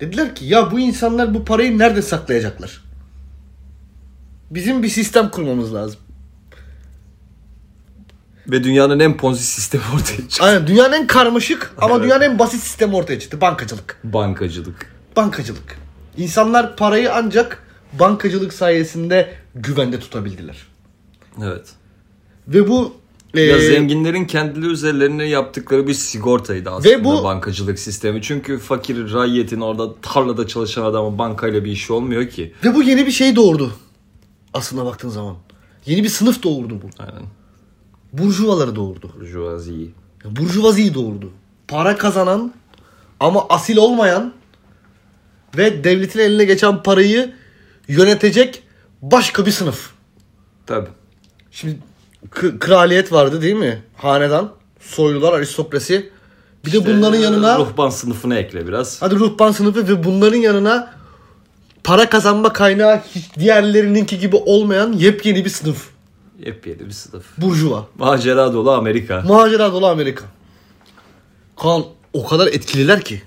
[SPEAKER 1] Dediler ki ya bu insanlar bu parayı nerede saklayacaklar? Bizim bir sistem kurmamız lazım.
[SPEAKER 2] Ve dünyanın en ponzi sistemi ortaya çıktı.
[SPEAKER 1] Aynen dünyanın en karmaşık ama
[SPEAKER 2] Evet.
[SPEAKER 1] dünyanın en basit sistemi ortaya çıktı. Bankacılık.
[SPEAKER 2] Bankacılık.
[SPEAKER 1] Bankacılık. İnsanlar parayı ancak bankacılık sayesinde güvende tutabildiler.
[SPEAKER 2] Evet.
[SPEAKER 1] Ve bu
[SPEAKER 2] Ya
[SPEAKER 1] Ee,
[SPEAKER 2] zenginlerin kendileri üzerlerine yaptıkları bir sigortaydı aslında
[SPEAKER 1] Ve bu-
[SPEAKER 2] bankacılık sistemi. Çünkü fakir rayyetin orada tarlada çalışan adamın bankayla bir işi olmuyor ki.
[SPEAKER 1] Ve bu yeni bir şey doğurdu. Aslında baktığın zaman. Yeni bir sınıf doğurdu bu.
[SPEAKER 2] Aynen.
[SPEAKER 1] Burjuvaları doğurdu.
[SPEAKER 2] Burjuvaziyi.
[SPEAKER 1] Burjuvaziyi doğurdu. Para kazanan ama asil olmayan ve devletin eline geçen parayı yönetecek başka bir sınıf.
[SPEAKER 2] Tabii.
[SPEAKER 1] Şimdi k- kraliyet vardı değil mi? Hanedan, soylular, aristokrasi. Bir de bunların
[SPEAKER 2] Ee,
[SPEAKER 1] yanına
[SPEAKER 2] Ruhban sınıfına ekle biraz.
[SPEAKER 1] hadi ruhban sınıfı ve bunların yanına para kazanma kaynağı hiç diğerlerininki gibi olmayan yepyeni bir sınıf.
[SPEAKER 2] Yepyeni bir sınıf.
[SPEAKER 1] Burjuva.
[SPEAKER 2] Macera dolu Amerika.
[SPEAKER 1] Macera dolu Amerika. Kaan o kadar etkililer ki.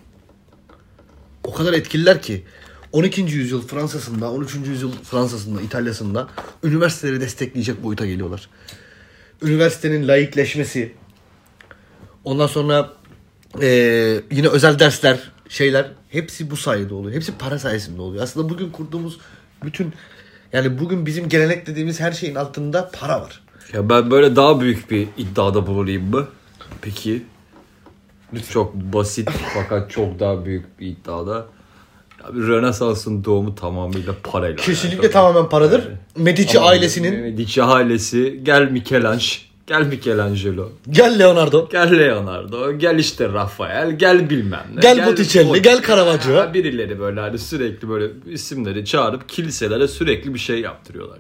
[SPEAKER 1] O kadar etkililer ki. 12. yüzyıl Fransa'sında, 13. yüzyıl Fransa'sında, İtalya'sında üniversiteleri destekleyecek boyuta geliyorlar. Üniversitenin laikleşmesi. Ondan sonra eee, yine özel dersler, şeyler. Hepsi bu sayede oluyor. Hepsi para sayesinde oluyor. Aslında bugün kurduğumuz bütün yani bugün bizim gelenek dediğimiz her şeyin altında para var.
[SPEAKER 2] Ya ben böyle daha büyük bir iddiada bulunayım mı? Peki. Çok basit fakat çok daha büyük bir iddiada. Ya bir Rönesans'ın doğumu tamamıyla parayla.
[SPEAKER 1] Kesinlikle
[SPEAKER 2] alakalı.
[SPEAKER 1] tamamen paradır. Medici
[SPEAKER 2] Tamam,
[SPEAKER 1] ailesinin
[SPEAKER 2] Medici ailesi. Gel Michelangelo. Gel Michelangelo.
[SPEAKER 1] gel Leonardo.
[SPEAKER 2] Gel Leonardo. Gel işte Rafael. Gel bilmem ne.
[SPEAKER 1] Gel Botticelli, gel Caravaggio.
[SPEAKER 2] Ha, Birileri böyle hani sürekli böyle isimleri çağırıp kiliselere sürekli bir şey yaptırıyorlar.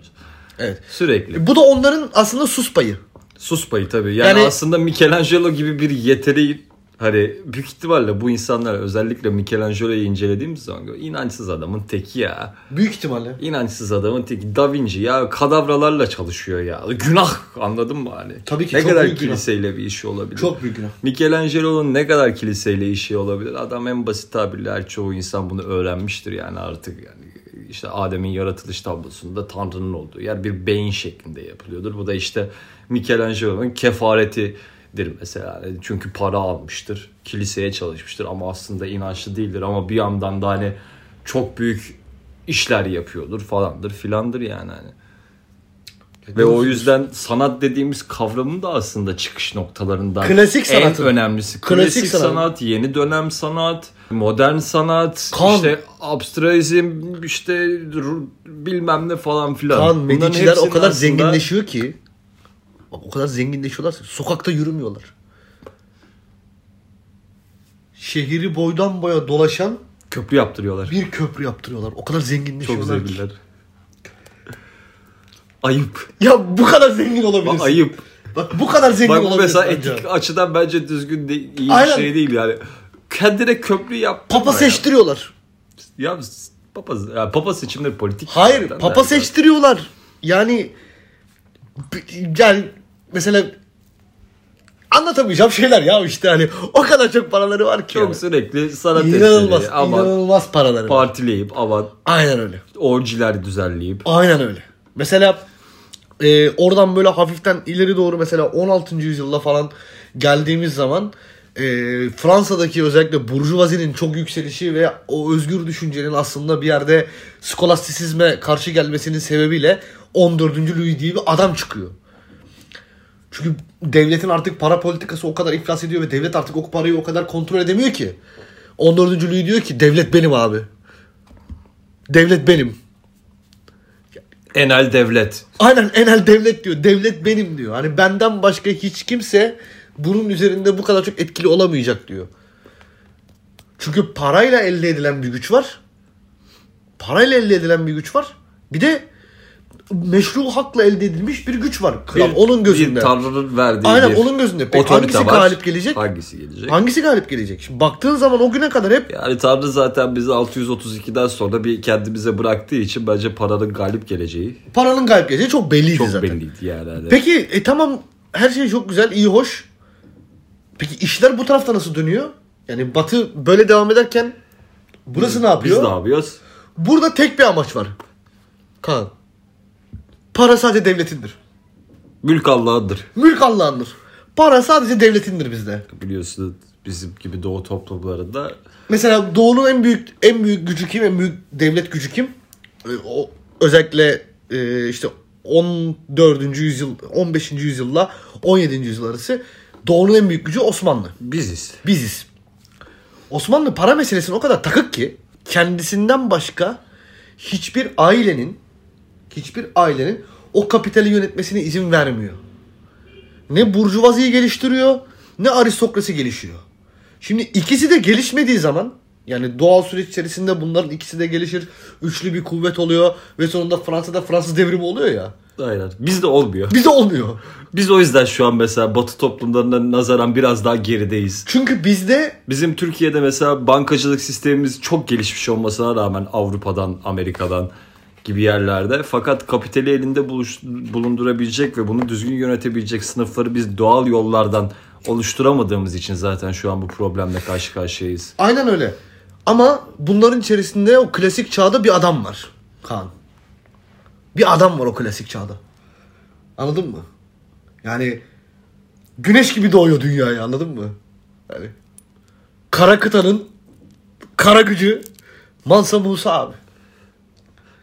[SPEAKER 1] Evet.
[SPEAKER 2] Sürekli.
[SPEAKER 1] Bu da onların aslında sus payı.
[SPEAKER 2] Sus payı tabii. Yani,
[SPEAKER 1] Yani-
[SPEAKER 2] aslında Michelangelo gibi bir yeteneği hani büyük ihtimalle bu insanlar özellikle Michelangelo'yu incelediğimiz zaman inançsız adamın teki ya.
[SPEAKER 1] Büyük ihtimalle.
[SPEAKER 2] İnançsız adamın teki Da Vinci ya kadavralarla çalışıyor ya. Günah anladın mı hani?
[SPEAKER 1] Tabii ki,
[SPEAKER 2] Ne
[SPEAKER 1] çok
[SPEAKER 2] kadar
[SPEAKER 1] büyük günah.
[SPEAKER 2] kiliseyle bir işi olabilir?
[SPEAKER 1] Çok büyük günah.
[SPEAKER 2] Michelangelo'nun ne kadar kiliseyle işi olabilir? Adam en basit tabirle her çoğu insan bunu öğrenmiştir yani artık yani işte Adem'in yaratılış tablosunda Tanrı'nın olduğu yer bir beyin şeklinde yapılıyordur. Bu da işte Michelangelo'nun kefaretidir mesela. Yani Çünkü para almıştır, kiliseye çalışmıştır ama aslında inançlı değildir ama bir yandan da hani çok büyük işler yapıyordur falandır filandır yani hani. Ve o yüzden sanat dediğimiz kavramın da aslında çıkış noktalarından
[SPEAKER 1] Klasik sanatın.
[SPEAKER 2] en önemlisi. Klasik,
[SPEAKER 1] Klasik
[SPEAKER 2] sanat,
[SPEAKER 1] sanat.
[SPEAKER 2] yeni dönem sanat, modern sanat,
[SPEAKER 1] Kan.
[SPEAKER 2] işte abstraizm, işte ru- bilmem ne falan filan.
[SPEAKER 1] Kaan
[SPEAKER 2] Bunların
[SPEAKER 1] Medici'ler o
[SPEAKER 2] hepsinin
[SPEAKER 1] kadar
[SPEAKER 2] aslında-
[SPEAKER 1] zenginleşiyor ki bak o kadar zenginleşiyorlar ki sokakta yürümüyorlar. Şehri boydan boya dolaşan
[SPEAKER 2] Köprü yaptırıyorlar.
[SPEAKER 1] bir şey köprü yaptırıyorlar. O kadar
[SPEAKER 2] Çok
[SPEAKER 1] zenginleşiyorlar ki.
[SPEAKER 2] zenginler. Ayıp.
[SPEAKER 1] Ya bu kadar zengin olabilirsin.
[SPEAKER 2] Bak ayıp.
[SPEAKER 1] Bak bu kadar zengin
[SPEAKER 2] Bak bu
[SPEAKER 1] olabilirsin.
[SPEAKER 2] mesela
[SPEAKER 1] ancak.
[SPEAKER 2] etik açıdan bence düzgün de, iyi
[SPEAKER 1] Aynen.
[SPEAKER 2] bir şey değil yani. Kendine köprü yap.
[SPEAKER 1] Papa seçtiriyorlar.
[SPEAKER 2] Ya papa, ya papa seçimleri politik.
[SPEAKER 1] Hayır,
[SPEAKER 2] zaten.
[SPEAKER 1] papa
[SPEAKER 2] Yani
[SPEAKER 1] seçtiriyorlar. Yani yani mesela anlatamayacağım şeyler ya işte hani o kadar çok paraları var ki.
[SPEAKER 2] Çok
[SPEAKER 1] yani.
[SPEAKER 2] sürekli sanat
[SPEAKER 1] İnanılmaz,
[SPEAKER 2] eseri, aman
[SPEAKER 1] inanılmaz paraları. var.
[SPEAKER 2] partileyip, aman
[SPEAKER 1] Aynen öyle.
[SPEAKER 2] orgiler düzenleyip.
[SPEAKER 1] Aynen öyle. Mesela e, oradan böyle hafiften ileri doğru mesela 16. yüzyılda falan geldiğimiz zaman e, Fransa'daki özellikle burjuvazinin çok yükselişi ve o özgür düşüncenin aslında bir yerde skolastisizme karşı gelmesinin sebebiyle 14. Louis diye bir adam çıkıyor. Çünkü devletin artık para politikası o kadar iflas ediyor ve devlet artık o parayı o kadar kontrol edemiyor ki. 14. Louis diyor ki devlet benim abi. Devlet benim.
[SPEAKER 2] Enel devlet.
[SPEAKER 1] Aynen enel devlet diyor. Devlet benim diyor. Hani benden başka hiç kimse bunun üzerinde bu kadar çok etkili olamayacak diyor. Çünkü parayla elde edilen bir güç var. Parayla elde edilen bir güç var. Bir de meşru hakla elde edilmiş bir güç var. Kral onun gözünde.
[SPEAKER 2] Bir tanrının verdiği
[SPEAKER 1] Aynen,
[SPEAKER 2] bir
[SPEAKER 1] onun gözünde. Peki
[SPEAKER 2] otorite
[SPEAKER 1] hangisi
[SPEAKER 2] var.
[SPEAKER 1] galip gelecek?
[SPEAKER 2] Hangisi gelecek?
[SPEAKER 1] Hangisi galip gelecek? Şimdi baktığın zaman o güne kadar hep
[SPEAKER 2] yani Tanrı zaten bizi 632'den sonra bir kendimize bıraktığı için bence paranın galip geleceği
[SPEAKER 1] paranın galip geleceği çok belliydi
[SPEAKER 2] çok
[SPEAKER 1] zaten.
[SPEAKER 2] belliydi yani. Hani
[SPEAKER 1] Peki e, tamam her şey çok güzel, iyi, hoş. Peki işler bu tarafta nasıl dönüyor? Yani Batı böyle devam ederken burası ne
[SPEAKER 2] Biz
[SPEAKER 1] yapıyor?
[SPEAKER 2] ne yapıyoruz?
[SPEAKER 1] Burada tek bir amaç var. Kaan. Para sadece devletindir.
[SPEAKER 2] Mülk Allah'ındır.
[SPEAKER 1] Mülk Allah'ındır. Para sadece devletindir bizde.
[SPEAKER 2] Biliyorsunuz bizim gibi doğu toplumlarında
[SPEAKER 1] Mesela Doğu'nun en büyük en büyük gücü kim? En büyük devlet gücü kim? E, O özellikle e, işte 14. yüzyıl, 15. yüzyılla 17. yüzyıl arası Doğu'nun en büyük gücü Osmanlı.
[SPEAKER 2] Biziz.
[SPEAKER 1] Biziz. Osmanlı para meselesine o kadar takık ki kendisinden başka hiçbir ailenin hiçbir ailenin o kapitali yönetmesine izin vermiyor. Ne burjuvaziyi geliştiriyor ne aristokrasi gelişiyor. Şimdi ikisi de gelişmediği zaman yani doğal süreç içerisinde bunların ikisi de gelişir. Üçlü bir kuvvet oluyor ve sonunda Fransa'da Fransız devrimi oluyor ya.
[SPEAKER 2] Aynen. Bizde olmuyor.
[SPEAKER 1] Bize olmuyor.
[SPEAKER 2] Biz o yüzden şu an mesela Batı toplumlarına nazaran biraz daha gerideyiz.
[SPEAKER 1] Çünkü bizde
[SPEAKER 2] Bizim Türkiye'de mesela bankacılık sistemimiz çok gelişmiş olmasına rağmen Avrupa'dan, Amerika'dan gibi yerlerde. Fakat kapitali elinde buluş- bulundurabilecek ve bunu düzgün yönetebilecek sınıfları biz doğal yollardan oluşturamadığımız için zaten şu an bu problemle karşı karşıyayız.
[SPEAKER 1] Aynen öyle. Ama bunların içerisinde o klasik çağda bir adam var. Kaan. Bir adam var o klasik çağda. Anladın mı? Yani güneş gibi doğuyor dünyaya anladın mı? Yani kara kıtanın kara gücü Mansa Musa abi.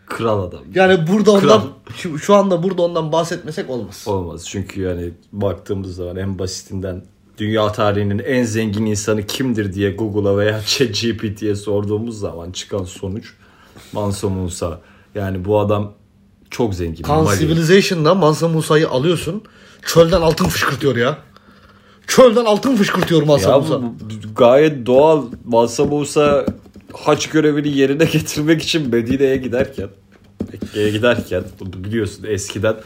[SPEAKER 2] Kral adam.
[SPEAKER 1] Yani burada ondan
[SPEAKER 2] Kral.
[SPEAKER 1] şu, şu anda burada ondan bahsetmesek olmaz.
[SPEAKER 2] Olmaz. Çünkü yani baktığımız zaman en basitinden dünya tarihinin en zengin insanı kimdir diye Google'a veya ChatGPT'ye sorduğumuz zaman çıkan sonuç Mansa Musa. Yani bu adam çok zengin.
[SPEAKER 1] Kan
[SPEAKER 2] Mali.
[SPEAKER 1] Civilization'da Mansa Musa'yı alıyorsun. Çölden altın fışkırtıyor ya. Çölden altın fışkırtıyor Mansa
[SPEAKER 2] Ya
[SPEAKER 1] Musa.
[SPEAKER 2] bu- bu gayet doğal Mansa Musa haç görevini yerine getirmek için Medine'ye giderken Mekke'ye giderken biliyorsun eskiden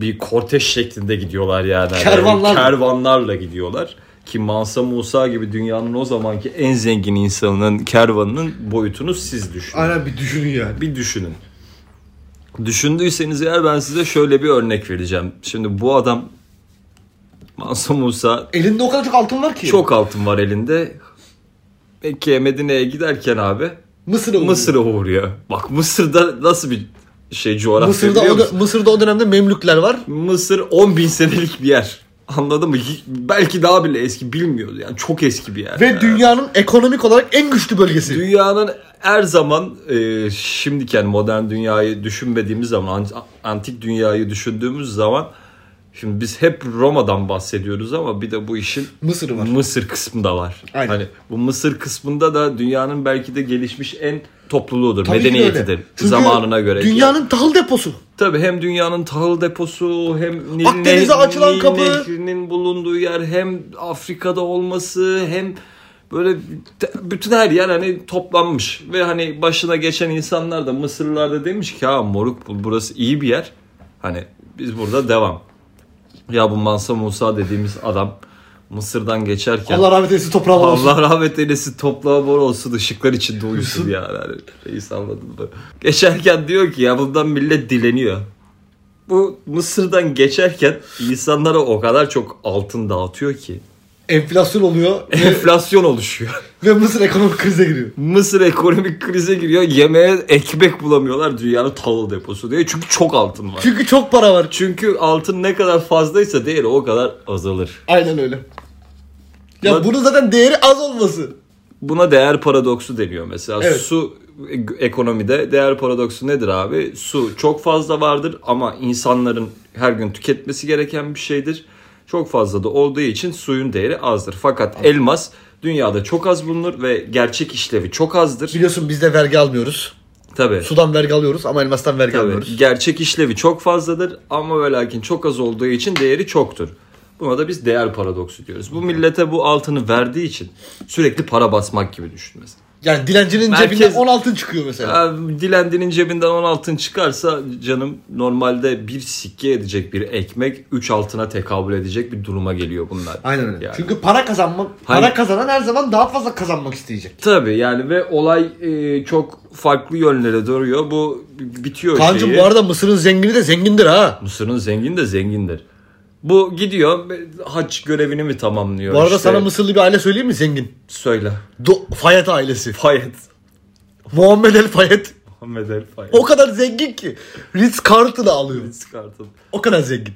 [SPEAKER 2] bir korteş şeklinde gidiyorlar yani. Hani
[SPEAKER 1] Kervanlarla.
[SPEAKER 2] kervanlarla gidiyorlar. Ki Mansa Musa gibi dünyanın o zamanki en zengin insanının kervanının boyutunu siz düşünün.
[SPEAKER 1] Aynen bir düşünün yani.
[SPEAKER 2] Bir düşünün. Düşündüyseniz eğer ben size şöyle bir örnek vereceğim. Şimdi bu adam Mansa Musa
[SPEAKER 1] Elinde o kadar çok altın var ki.
[SPEAKER 2] çok altın var elinde. Mekke'ye Medine'ye giderken abi
[SPEAKER 1] Mısır'a uğruyor.
[SPEAKER 2] Mısır'a uğruyor. Bak Mısır'da nasıl bir şey coğrafya
[SPEAKER 1] Mısır'da
[SPEAKER 2] biliyor
[SPEAKER 1] o, da-
[SPEAKER 2] musun?
[SPEAKER 1] Mısır'da o dönemde Memlükler var.
[SPEAKER 2] Mısır 10 bin senelik bir yer. Anladın mı? Hi- Belki daha bile eski bilmiyoruz. Yani çok eski bir yer.
[SPEAKER 1] Ve
[SPEAKER 2] Yani
[SPEAKER 1] dünyanın ekonomik olarak en güçlü bölgesi.
[SPEAKER 2] Dünyanın her zaman e, şimdiken modern dünyayı düşünmediğimiz zaman an- antik dünyayı düşündüğümüz zaman şimdi biz hep Roma'dan bahsediyoruz ama bir de bu işin
[SPEAKER 1] Mısır var.
[SPEAKER 2] Mısır kısmı da var.
[SPEAKER 1] Aynen.
[SPEAKER 2] Hani bu Mısır kısmında da dünyanın belki de gelişmiş en topluluğudur.
[SPEAKER 1] Tabii ki de öyle.
[SPEAKER 2] medeniyetidir
[SPEAKER 1] Çünkü
[SPEAKER 2] zamanına göre.
[SPEAKER 1] Dünyanın tahıl deposu.
[SPEAKER 2] Tabii hem dünyanın tahıl deposu hem Nil,
[SPEAKER 1] Akdeniz'e
[SPEAKER 2] Nil-
[SPEAKER 1] açılan
[SPEAKER 2] Nil
[SPEAKER 1] kapı.
[SPEAKER 2] Nehri'nin bulunduğu yer hem Afrika'da olması hem böyle te- bütün her yer hani toplanmış ve hani başına geçen insanlar da Mısırlılar da demiş ki ha moruk bu- burası iyi bir yer. Hani biz burada devam. Ya bu Mansa Musa dediğimiz adam Mısır'dan geçerken
[SPEAKER 1] Allah rahmet eylesin toprağı bol olsun.
[SPEAKER 2] Allah rahmet eylesin toprağı bor olsun ışıklar içinde uyusun ya. Yani reis anladın mı? Geçerken diyor ki ya bundan millet dileniyor. Bu Mısır'dan geçerken insanlara o kadar çok altın dağıtıyor ki
[SPEAKER 1] Enflasyon oluyor
[SPEAKER 2] enflasyon oluşuyor.
[SPEAKER 1] ve Mısır ekonomik krize giriyor.
[SPEAKER 2] Mısır ekonomik krize giriyor. Yemeğe ekmek bulamıyorlar dünyanın tahıl deposu diye. Çünkü çok altın var.
[SPEAKER 1] Çünkü çok para var.
[SPEAKER 2] Çünkü altın ne kadar fazlaysa değeri o kadar azalır.
[SPEAKER 1] Aynen öyle. Ya
[SPEAKER 2] Bak-
[SPEAKER 1] bunun zaten değeri az olması.
[SPEAKER 2] Buna değer paradoksu deniyor mesela.
[SPEAKER 1] Evet.
[SPEAKER 2] Su e- ekonomide değer paradoksu nedir abi? Su çok fazla vardır ama insanların her gün tüketmesi gereken bir şeydir. Çok fazla da olduğu için suyun değeri azdır. Fakat elmas dünyada çok az bulunur ve gerçek işlevi çok azdır.
[SPEAKER 1] Biliyorsun biz de vergi almıyoruz.
[SPEAKER 2] Tabii.
[SPEAKER 1] Sudan vergi alıyoruz ama elmastan vergi
[SPEAKER 2] Tabii.
[SPEAKER 1] almıyoruz.
[SPEAKER 2] Gerçek işlevi çok fazladır ama ve lakin çok az olduğu için değeri çoktur. Buna da biz değer paradoksu diyoruz. Bu millete bu altını verdiği için sürekli para basmak gibi düşünmesi.
[SPEAKER 1] Yani dilencinin
[SPEAKER 2] Merkez-
[SPEAKER 1] cebinden 10 altın çıkıyor mesela.
[SPEAKER 2] Ya, Dilendi'nin cebinden 10 altın çıkarsa canım normalde bir sikke edecek bir ekmek 3 altına tekabül edecek bir duruma geliyor bunlar.
[SPEAKER 1] Aynen öyle.
[SPEAKER 2] Yani.
[SPEAKER 1] Çünkü para kazanmak, para
[SPEAKER 2] Hayır.
[SPEAKER 1] kazanan her zaman daha fazla kazanmak isteyecek.
[SPEAKER 2] Tabii yani ve olay e, çok farklı yönlere doğruyor. Bu b- bitiyor
[SPEAKER 1] Kaan'cım
[SPEAKER 2] şeyi.
[SPEAKER 1] bu arada Mısır'ın zengini de zengindir ha.
[SPEAKER 2] Mısır'ın zengin de zengindir. Bu gidiyor haç görevini mi tamamlıyor?
[SPEAKER 1] Bu arada
[SPEAKER 2] işte?
[SPEAKER 1] sana Mısırlı bir aile söyleyeyim mi zengin?
[SPEAKER 2] Söyle.
[SPEAKER 1] Do Fayet ailesi.
[SPEAKER 2] Fayet.
[SPEAKER 1] Muhammed El Fayet.
[SPEAKER 2] Muhammed El Fayet.
[SPEAKER 1] O kadar zengin ki. Ritz Carlton'ı alıyor.
[SPEAKER 2] Çıkartın.
[SPEAKER 1] O kadar zengin.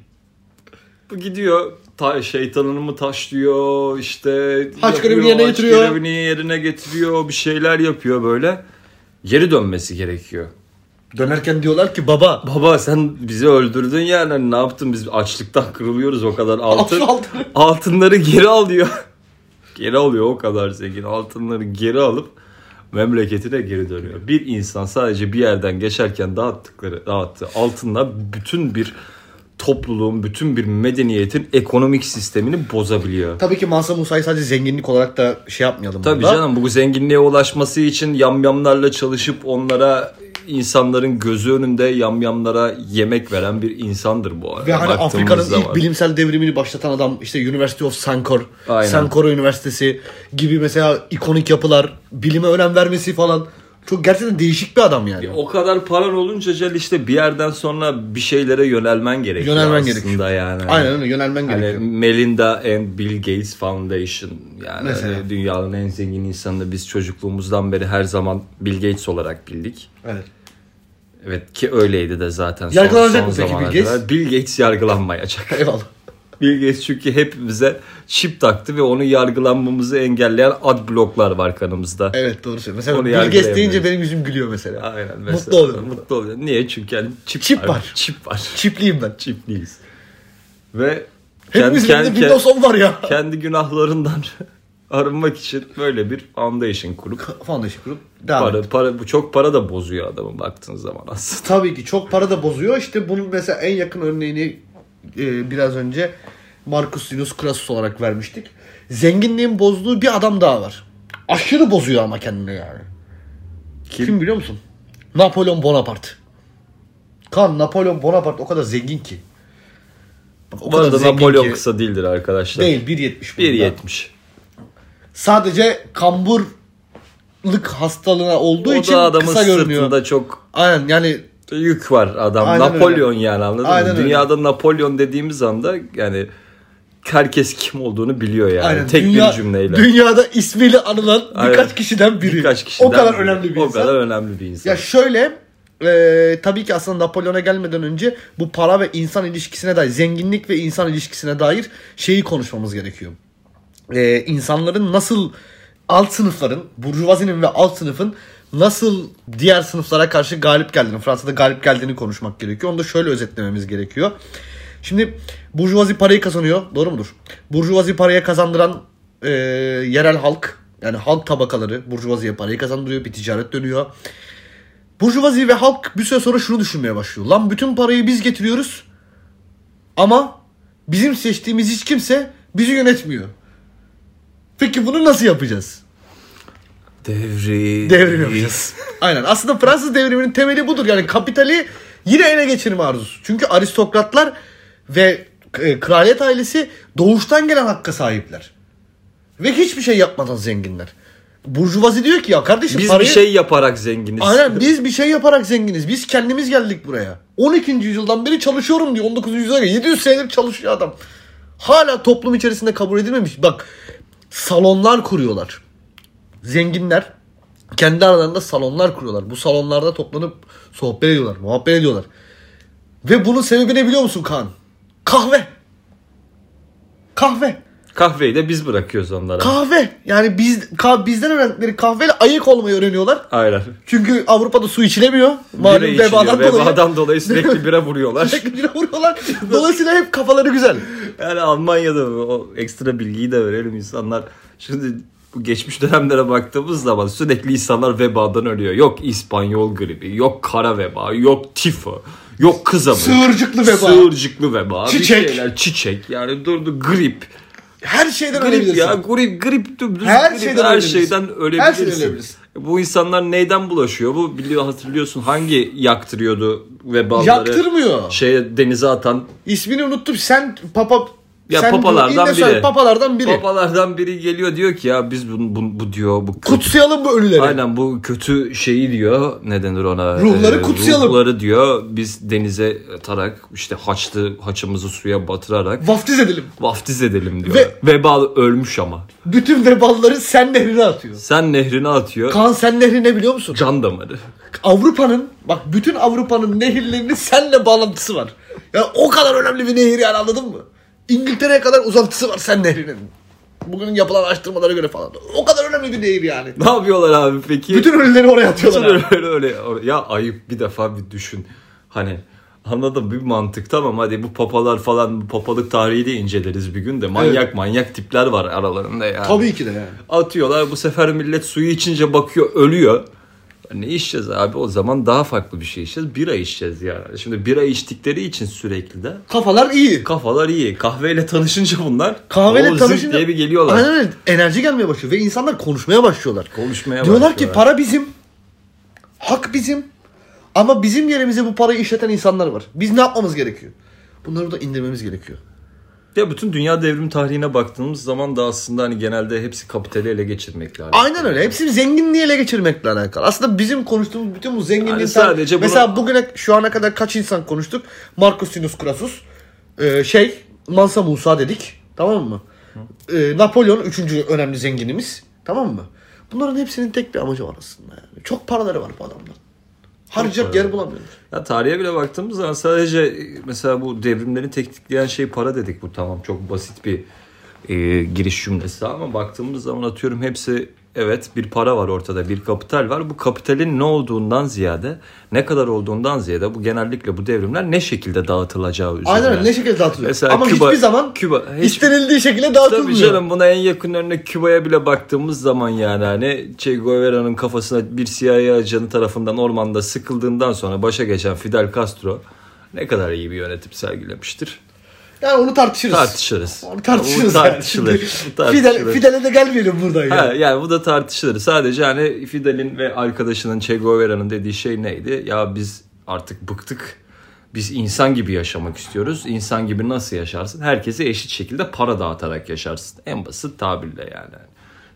[SPEAKER 2] Bu gidiyor ta, şeytanını mı taşlıyor işte yapıyor,
[SPEAKER 1] görevini yerine
[SPEAKER 2] haç
[SPEAKER 1] getiriyor.
[SPEAKER 2] görevini yerine getiriyor bir şeyler yapıyor böyle. Geri dönmesi gerekiyor.
[SPEAKER 1] Dönerken diyorlar ki baba
[SPEAKER 2] Baba sen bizi öldürdün yani Hani ne yaptın biz açlıktan kırılıyoruz o kadar altın.
[SPEAKER 1] Altın.
[SPEAKER 2] altınları geri al diyor. geri alıyor o kadar zengin altınları geri alıp memleketine geri dönüyor. Bir insan sadece bir yerden geçerken dağıttıkları dağıttığı altınla bütün bir topluluğun, bütün bir medeniyetin ekonomik sistemini bozabiliyor.
[SPEAKER 1] tabii ki Mansa Musa'yı sadece zenginlik olarak da şey yapmayalım.
[SPEAKER 2] Tabii
[SPEAKER 1] burada.
[SPEAKER 2] canım bu zenginliğe ulaşması için yamyamlarla çalışıp onlara insanların gözü önünde yamyamlara yemek veren bir insandır bu arada.
[SPEAKER 1] Ve hani
[SPEAKER 2] Baktığımız
[SPEAKER 1] Afrika'nın ilk
[SPEAKER 2] zaman.
[SPEAKER 1] bilimsel devrimini başlatan adam işte University of Sankor,
[SPEAKER 2] Aynen.
[SPEAKER 1] Sankora Üniversitesi gibi mesela ikonik yapılar, bilime önem vermesi falan. Çok gerçekten değişik bir adam yani.
[SPEAKER 2] O kadar paran olunca Cel işte bir yerden sonra bir şeylere yönelmen gerekiyor
[SPEAKER 1] Yönelmen
[SPEAKER 2] aslında
[SPEAKER 1] gerekiyor.
[SPEAKER 2] yani.
[SPEAKER 1] Aynen öyle yönelmen
[SPEAKER 2] Hani
[SPEAKER 1] gerekiyor.
[SPEAKER 2] Melinda and Bill Gates Foundation yani
[SPEAKER 1] Mesela.
[SPEAKER 2] hani dünyanın en zengin insanını biz çocukluğumuzdan beri her zaman Bill Gates olarak bildik.
[SPEAKER 1] Evet.
[SPEAKER 2] Evet ki öyleydi de zaten. son-
[SPEAKER 1] Yargılanacak
[SPEAKER 2] son
[SPEAKER 1] mı peki Bill
[SPEAKER 2] zamana
[SPEAKER 1] Gates?
[SPEAKER 2] kadar. Bill Gates yargılanmayacak.
[SPEAKER 1] Eyvallah.
[SPEAKER 2] Bill Gates çünkü hepimize çip taktı ve onu yargılanmamızı engelleyen ad bloklar var kanımızda.
[SPEAKER 1] Evet doğru söylüyorsun. Mesela
[SPEAKER 2] Onu
[SPEAKER 1] Bill Gates deyince
[SPEAKER 2] yargılayamıyoruz.
[SPEAKER 1] benim yüzüm gülüyor mesela.
[SPEAKER 2] Aynen.
[SPEAKER 1] Mutlu oluyorum.
[SPEAKER 2] Mutlu oluyorum. Niye? Çünkü yani çip,
[SPEAKER 1] Çip
[SPEAKER 2] var.
[SPEAKER 1] var.
[SPEAKER 2] Çip var.
[SPEAKER 1] Çipliyim ben.
[SPEAKER 2] Çipliyiz. Ve
[SPEAKER 1] Hepimizin elinde Windows 10 var ya.
[SPEAKER 2] kendi günahlarından arınmak için böyle bir foundation kurup
[SPEAKER 1] Foundation kurup devam
[SPEAKER 2] para,
[SPEAKER 1] et.
[SPEAKER 2] para, bu çok para da bozuyor adamı baktığın zaman aslında.
[SPEAKER 1] Tabii ki çok para da bozuyor. İşte bunun mesela en yakın örneğini e, biraz önce Marcus Linus Crassus olarak vermiştik. Zenginliğin bozduğu bir adam daha var. Aşırı bozuyor ama kendini yani. Kim,
[SPEAKER 2] Kim?
[SPEAKER 1] biliyor musun? Napolyon Bonaparte. Kan Napolyon Bonaparte o kadar zengin ki. Bak, o
[SPEAKER 2] Bu arada
[SPEAKER 1] zengin
[SPEAKER 2] Napolyon
[SPEAKER 1] ki-
[SPEAKER 2] kısa değildir arkadaşlar.
[SPEAKER 1] Değil 1.70. boyunda.
[SPEAKER 2] 1.70.
[SPEAKER 1] Sadece kamburlık hastalığına olduğu
[SPEAKER 2] O
[SPEAKER 1] için
[SPEAKER 2] da adamın
[SPEAKER 1] kısa görünüyor.
[SPEAKER 2] sırtında çok
[SPEAKER 1] Aynen yani
[SPEAKER 2] yük var adam.
[SPEAKER 1] Aynen
[SPEAKER 2] Napolyon yani anladın
[SPEAKER 1] Aynen
[SPEAKER 2] mı?
[SPEAKER 1] öyle.
[SPEAKER 2] Dünyada Napolyon dediğimiz anda yani herkes kim olduğunu biliyor yani.
[SPEAKER 1] Aynen.
[SPEAKER 2] Tek
[SPEAKER 1] Dünya-
[SPEAKER 2] bir cümleyle.
[SPEAKER 1] Dünyada ismiyle anılan
[SPEAKER 2] Aynen.
[SPEAKER 1] birkaç kişiden biri.
[SPEAKER 2] Birkaç kişiden
[SPEAKER 1] o kadar
[SPEAKER 2] biri.
[SPEAKER 1] önemli bir
[SPEAKER 2] o
[SPEAKER 1] insan.
[SPEAKER 2] kadar önemli bir insan.
[SPEAKER 1] Ya şöyle e, tabii ki aslında Napolyon'a gelmeden önce bu para ve insan ilişkisine dair, zenginlik ve insan ilişkisine dair şeyi konuşmamız gerekiyor. E, insanların nasıl alt sınıfların, burjuvazinin ve alt sınıfın nasıl diğer sınıflara karşı galip geldiğini, Fransa'da galip geldiğini konuşmak gerekiyor. Onu da şöyle özetlememiz gerekiyor. Şimdi burjuvazi parayı kazanıyor. Doğru mudur? Burjuvazi paraya kazandıran e, yerel halk yani halk tabakaları burjuvaziye parayı kazandırıyor. Bir ticaret dönüyor. Burjuvazi ve halk bir süre sonra şunu düşünmeye başlıyor. Lan bütün parayı biz getiriyoruz ama bizim seçtiğimiz hiç kimse bizi yönetmiyor. Peki bunu nasıl yapacağız?
[SPEAKER 2] Devri.
[SPEAKER 1] Devrim yapacağız. Aynen. Aslında Fransız devriminin temeli budur. Yani kapitali yine ele geçirme arzusu. Çünkü aristokratlar ve e, kraliyet ailesi doğuştan gelen hakka sahipler. Ve hiçbir şey yapmadan zenginler. Burjuvazi diyor ki ya kardeşim
[SPEAKER 2] Biz
[SPEAKER 1] parayı...
[SPEAKER 2] bir şey yaparak zenginiz.
[SPEAKER 1] Aynen biz bir şey yaparak zenginiz. Biz kendimiz geldik buraya. 12. yüzyıldan beri çalışıyorum diyor. 19. yüzyılda 700 senedir çalışıyor adam. Hala toplum içerisinde kabul edilmemiş. Bak salonlar kuruyorlar. Zenginler kendi aralarında salonlar kuruyorlar. Bu salonlarda toplanıp sohbet ediyorlar, muhabbet ediyorlar. Ve bunun sebebi ne biliyor musun Kaan? Kahve. Kahve.
[SPEAKER 2] Kahveyi de biz bırakıyoruz onlara.
[SPEAKER 1] Kahve. Yani biz ka- bizden öğrendikleri kahveyle ayık olmayı öğreniyorlar.
[SPEAKER 2] Aynen.
[SPEAKER 1] Çünkü Avrupa'da su içilemiyor. Malum
[SPEAKER 2] Bira içiliyor.
[SPEAKER 1] vebadan dolayı.
[SPEAKER 2] Vebadan dolayı sürekli bira vuruyorlar.
[SPEAKER 1] Sürekli bira vuruyorlar. Dolayısıyla hep kafaları güzel.
[SPEAKER 2] yani Almanya'da o ekstra bilgiyi de verelim insanlar. Şimdi bu geçmiş dönemlere baktığımız zaman sürekli insanlar vebadan ölüyor. Yok İspanyol gribi, yok kara veba, yok tifo, yok kızamık.
[SPEAKER 1] Sığırcıklı veba.
[SPEAKER 2] Sığırcıklı veba. bir
[SPEAKER 1] Çiçek.
[SPEAKER 2] Şeyler, çiçek. Yani durdu grip.
[SPEAKER 1] Her şeyden
[SPEAKER 2] Grip
[SPEAKER 1] ölebilirsin.
[SPEAKER 2] ya grip grip dümdüz
[SPEAKER 1] Her
[SPEAKER 2] grip,
[SPEAKER 1] şeyden
[SPEAKER 2] her
[SPEAKER 1] ölebilirsin.
[SPEAKER 2] şeyden ölebilirsin.
[SPEAKER 1] Her şeyden ölebilirsin.
[SPEAKER 2] Bu insanlar neyden bulaşıyor? Bu biliyor hatırlıyorsun hangi yaktırıyordu vebaları?
[SPEAKER 1] Yaktırmıyor.
[SPEAKER 2] Şeye denize atan
[SPEAKER 1] İsmini unuttum. Sen papa...
[SPEAKER 2] Ya
[SPEAKER 1] sen
[SPEAKER 2] papalardan
[SPEAKER 1] bu- yine söyle,
[SPEAKER 2] biri.
[SPEAKER 1] Papalardan biri.
[SPEAKER 2] babalardan biri geliyor diyor ki ya biz bu, bu, bu diyor bu kötü-
[SPEAKER 1] Kutsayalım bu ölüleri.
[SPEAKER 2] Aynen bu kötü şeyi diyor ne denir ona? Ee,
[SPEAKER 1] Ruhları kutsayalım.
[SPEAKER 2] Ruhları diyor biz denize atarak işte haçlı haçımızı suya batırarak
[SPEAKER 1] Vaftiz edelim.
[SPEAKER 2] vaftiz edelim diyor.
[SPEAKER 1] Ve-
[SPEAKER 2] Vebalı ölmüş ama.
[SPEAKER 1] Bütün vebalları sen nehrine atıyor.
[SPEAKER 2] Sen nehrine atıyor.
[SPEAKER 1] Kaan sen nehri ne biliyor musun?
[SPEAKER 2] can damarı.
[SPEAKER 1] Avrupa'nın bak bütün Avrupa'nın nehirlerinin seninle bağlantısı var. Ya o kadar önemli bir nehir yani anladın mı? İngiltere'ye kadar uzantısı var sen nehrinin. Bugün yapılan araştırmalara göre falan. O kadar önemli değil yani.
[SPEAKER 2] Ne yapıyorlar abi peki?
[SPEAKER 1] Bütün ölüleri oraya atıyorlar.
[SPEAKER 2] Bütün
[SPEAKER 1] abi.
[SPEAKER 2] öyle, öyle, öyle. Ya ayıp bir defa bir düşün. Hani anladım bir mantık tamam hadi bu papalar falan bu papalık tarihi de inceleriz bir gün de manyak manyak tipler var aralarında yani.
[SPEAKER 1] Tabii ki de yani.
[SPEAKER 2] Atıyorlar bu sefer millet suyu içince bakıyor ölüyor. Ne içeceğiz abi o zaman daha farklı bir şey içeceğiz. Bira içeceğiz yani. Şimdi bira içtikleri için sürekli de
[SPEAKER 1] Kafalar iyi.
[SPEAKER 2] kafalar iyi. Kahveyle tanışınca bunlar
[SPEAKER 1] Kahveyle
[SPEAKER 2] o zırt
[SPEAKER 1] tanışınca
[SPEAKER 2] diye bir geliyorlar.
[SPEAKER 1] Aynen öyle. Enerji gelmeye başlıyor ve insanlar konuşmaya başlıyorlar.
[SPEAKER 2] Konuşmaya
[SPEAKER 1] Diyorlar
[SPEAKER 2] başlıyorlar.
[SPEAKER 1] ki para bizim. Hak bizim. Ama bizim yerimize bu parayı işleten insanlar var. Biz ne yapmamız gerekiyor? Bunları da indirmemiz gerekiyor.
[SPEAKER 2] Ya bütün dünya devrim tarihine baktığımız zaman da aslında hani genelde hepsi kapitali ele geçirmekle alakalı.
[SPEAKER 1] Aynen öyle. Hepsini zenginliği ele geçirmekle alakalı. Aslında bizim konuştuğumuz bütün bu zenginliğin...
[SPEAKER 2] Yani sadece bunu-
[SPEAKER 1] Mesela bugüne şu ana kadar kaç insan konuştuk? Marcus Sinus Crassus. e, şey, Mansa Musa dedik. Tamam mı? E, Napolyon üçüncü önemli zenginimiz. Tamam mı? Bunların hepsinin tek bir amacı var aslında. Yani. Çok paraları var bu adamların. Harcayacak yer bulamıyorlar.
[SPEAKER 2] Ya tarihe bile baktığımız zaman sadece mesela bu devrimlerin teknikleyen şey para dedik bu tamam çok basit bir e, giriş cümlesi ama baktığımız zaman atıyorum hepsi evet bir para var ortada bir kapital var. Bu kapitalin ne olduğundan ziyade ne kadar olduğundan ziyade bu genellikle bu devrimler ne şekilde dağıtılacağı üzerine.
[SPEAKER 1] Aynen öyle. Ne şekilde dağıtılıyor?
[SPEAKER 2] Mesela
[SPEAKER 1] Ama
[SPEAKER 2] Küba-
[SPEAKER 1] hiçbir zaman
[SPEAKER 2] Küba- hiç-
[SPEAKER 1] istenildiği şekilde dağıtılmıyor.
[SPEAKER 2] Tabii canım buna en yakın örnek Küba'ya bile baktığımız zaman yani hani Che Guevara'nın kafasına bir CIA ajanı tarafından ormanda sıkıldığından sonra başa geçen Fidel Castro ne kadar iyi bir yönetim sergilemiştir.
[SPEAKER 1] Yani onu tartışırız.
[SPEAKER 2] Tartışırız.
[SPEAKER 1] Onu tartışırız.
[SPEAKER 2] Bu
[SPEAKER 1] yani.
[SPEAKER 2] tartışılır.
[SPEAKER 1] Şimdi
[SPEAKER 2] Bu tartışılır.
[SPEAKER 1] Fidel, Fidel'e de gelmeyelim buradan. yani.
[SPEAKER 2] Ha, yani bu da tartışılır. Sadece hani Fidel'in ve arkadaşının Che Guevara'nın dediği şey neydi? Ya biz artık bıktık. Biz insan gibi yaşamak istiyoruz. İnsan gibi nasıl yaşarsın? Herkese eşit şekilde para dağıtarak yaşarsın. En basit tabirle yani.